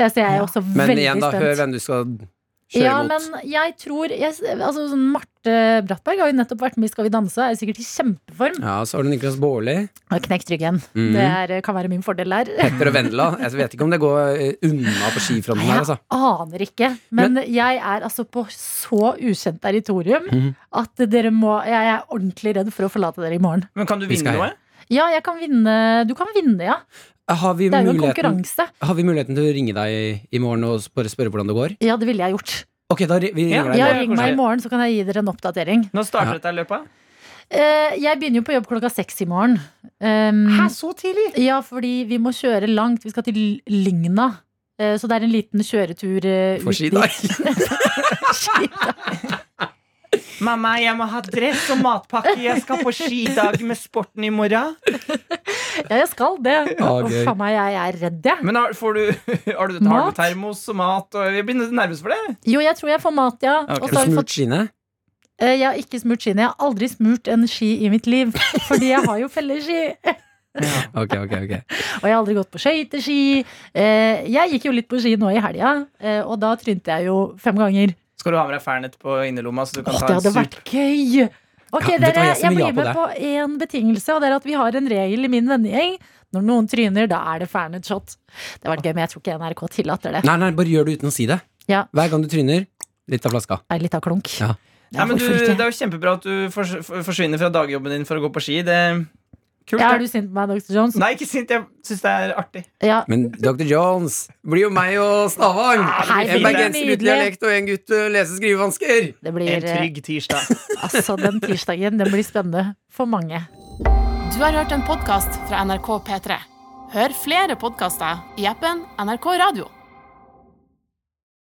Speaker 2: Ja, Så jeg er også
Speaker 3: Men
Speaker 2: veldig
Speaker 3: igjen, da,
Speaker 2: spent.
Speaker 3: hør hvem du skal kjøre
Speaker 2: Ja,
Speaker 3: mot.
Speaker 2: men jeg tror jeg, altså, sånn Marte Brattberg har jo nettopp vært med i Skal vi danse, er sikkert i kjempeform.
Speaker 3: Ja, så har du Niklas Baarli.
Speaker 2: Jeg har knekt ryggen.
Speaker 3: Mhm.
Speaker 2: Det er, eh, kan være min fordel der.
Speaker 3: Petter og Vendela. Jeg vet ikke om det går eh, unna på skifronten her, altså.
Speaker 2: Aner ikke. Men, jeg er altså på så ukjent territorium
Speaker 3: Mhm.
Speaker 2: at dere må Jeg er ordentlig redd for å forlate dere i morgen.
Speaker 4: Men kan du
Speaker 3: Vi
Speaker 4: vinne
Speaker 3: skal
Speaker 4: noe?
Speaker 2: Ja, jeg kan vinne. Du kan vinne, ja.
Speaker 3: Har vi,
Speaker 2: Det er jo en
Speaker 3: muligheten,
Speaker 2: konkurranse.
Speaker 3: har vi muligheten til å ringe deg i morgen og bare spørre hvordan det går?
Speaker 2: Ja, det ville jeg gjort.
Speaker 3: Ok, da ri- vi
Speaker 4: Ja,
Speaker 3: ringer deg
Speaker 2: Ja,
Speaker 3: i morgen.
Speaker 4: det er
Speaker 2: Ring meg
Speaker 4: koselig.
Speaker 2: i morgen, så kan jeg gi dere en oppdatering.
Speaker 4: Nå
Speaker 3: Ja.
Speaker 4: starter dette løpet.
Speaker 2: Eh, jeg begynner jo på jobb klokka seks i morgen. Um,
Speaker 4: så tidlig?
Speaker 2: Ja, fordi vi må kjøre langt. Vi skal til Lygna. Eh, Så det er en liten kjøretur eh,
Speaker 3: For
Speaker 2: ut dit.
Speaker 3: skidag.
Speaker 2: Skidag.
Speaker 4: Mamma, jeg må ha dress og matpakke. Jeg skal på skidag med sporten i morgen.
Speaker 2: Ja, jeg skal det.
Speaker 3: Ah,
Speaker 2: Å,
Speaker 3: gøy.
Speaker 2: faen meg, jeg er redd, jeg.
Speaker 4: Men har, får du, har du dette? Har
Speaker 2: Mat?
Speaker 4: du termos og mat? Og jeg blir nervøs for det.
Speaker 2: Jo, jeg tror jeg får mat, ja.
Speaker 4: Ok.
Speaker 2: Og så har
Speaker 3: Har du
Speaker 2: vi
Speaker 3: smurt
Speaker 2: fått,
Speaker 3: skiene?
Speaker 2: eh, jeg har ikke smurt skiene. Jeg har aldri smurt en ski i mitt liv. Fordi jeg har jo felleski.
Speaker 3: Ok, ok, ok.
Speaker 2: Og jeg har aldri gått på skøyteski. Eh, Jeg gikk jo litt på ski nå i helga, eh, og da trynte jeg jo fem ganger.
Speaker 4: Skal du ha med deg Fernet på innerlomma? Så du kan
Speaker 2: Åh,
Speaker 4: ta
Speaker 2: det
Speaker 4: en
Speaker 2: hadde
Speaker 4: sup?
Speaker 2: vært gøy! Ok,
Speaker 3: Ja, vet du hva,
Speaker 2: dere,
Speaker 3: jeg
Speaker 2: jeg,
Speaker 3: stemmer ja
Speaker 2: blir
Speaker 3: på
Speaker 2: med
Speaker 3: det.
Speaker 2: på én betingelse, og det er at vi har en regel i min vennegjeng. Når noen tryner, da er det fernet shot. Det hadde vært gøy, men jeg tror ikke NRK tillater det.
Speaker 3: Nei, nei, bare gjør det uten å si det.
Speaker 2: Ja.
Speaker 3: Hver gang du tryner, litt av flaska.
Speaker 2: Det er litt av klunk.
Speaker 3: Ja.
Speaker 2: Ja,
Speaker 4: Nei, men du,
Speaker 2: hvorfor
Speaker 4: det
Speaker 2: ikke?
Speaker 4: er jo kjempebra at du fors forsvinner fra dagjobben din for å gå på ski. Det, Kult,
Speaker 2: Ja,
Speaker 4: da.
Speaker 2: er du sint på meg, Dr. Jones?
Speaker 4: Nei, ikke sint. Jeg syns det er artig.
Speaker 2: Ja.
Speaker 3: Men Dr. Jones blir jo meg og Stavang.
Speaker 2: Hei,
Speaker 3: en
Speaker 2: Ah, det blir
Speaker 3: bergenser
Speaker 2: nydelig.
Speaker 3: uten dialekt og en gutt uh, lese- og skrivevansker.
Speaker 2: Det blir,
Speaker 11: En
Speaker 2: eh,
Speaker 11: trygg tirsdag.
Speaker 2: altså, den tirsdagen den blir spennende for mange.
Speaker 12: Du har hørt en podkast fra NRK P3. Hør flere podkaster i appen NRK Radio.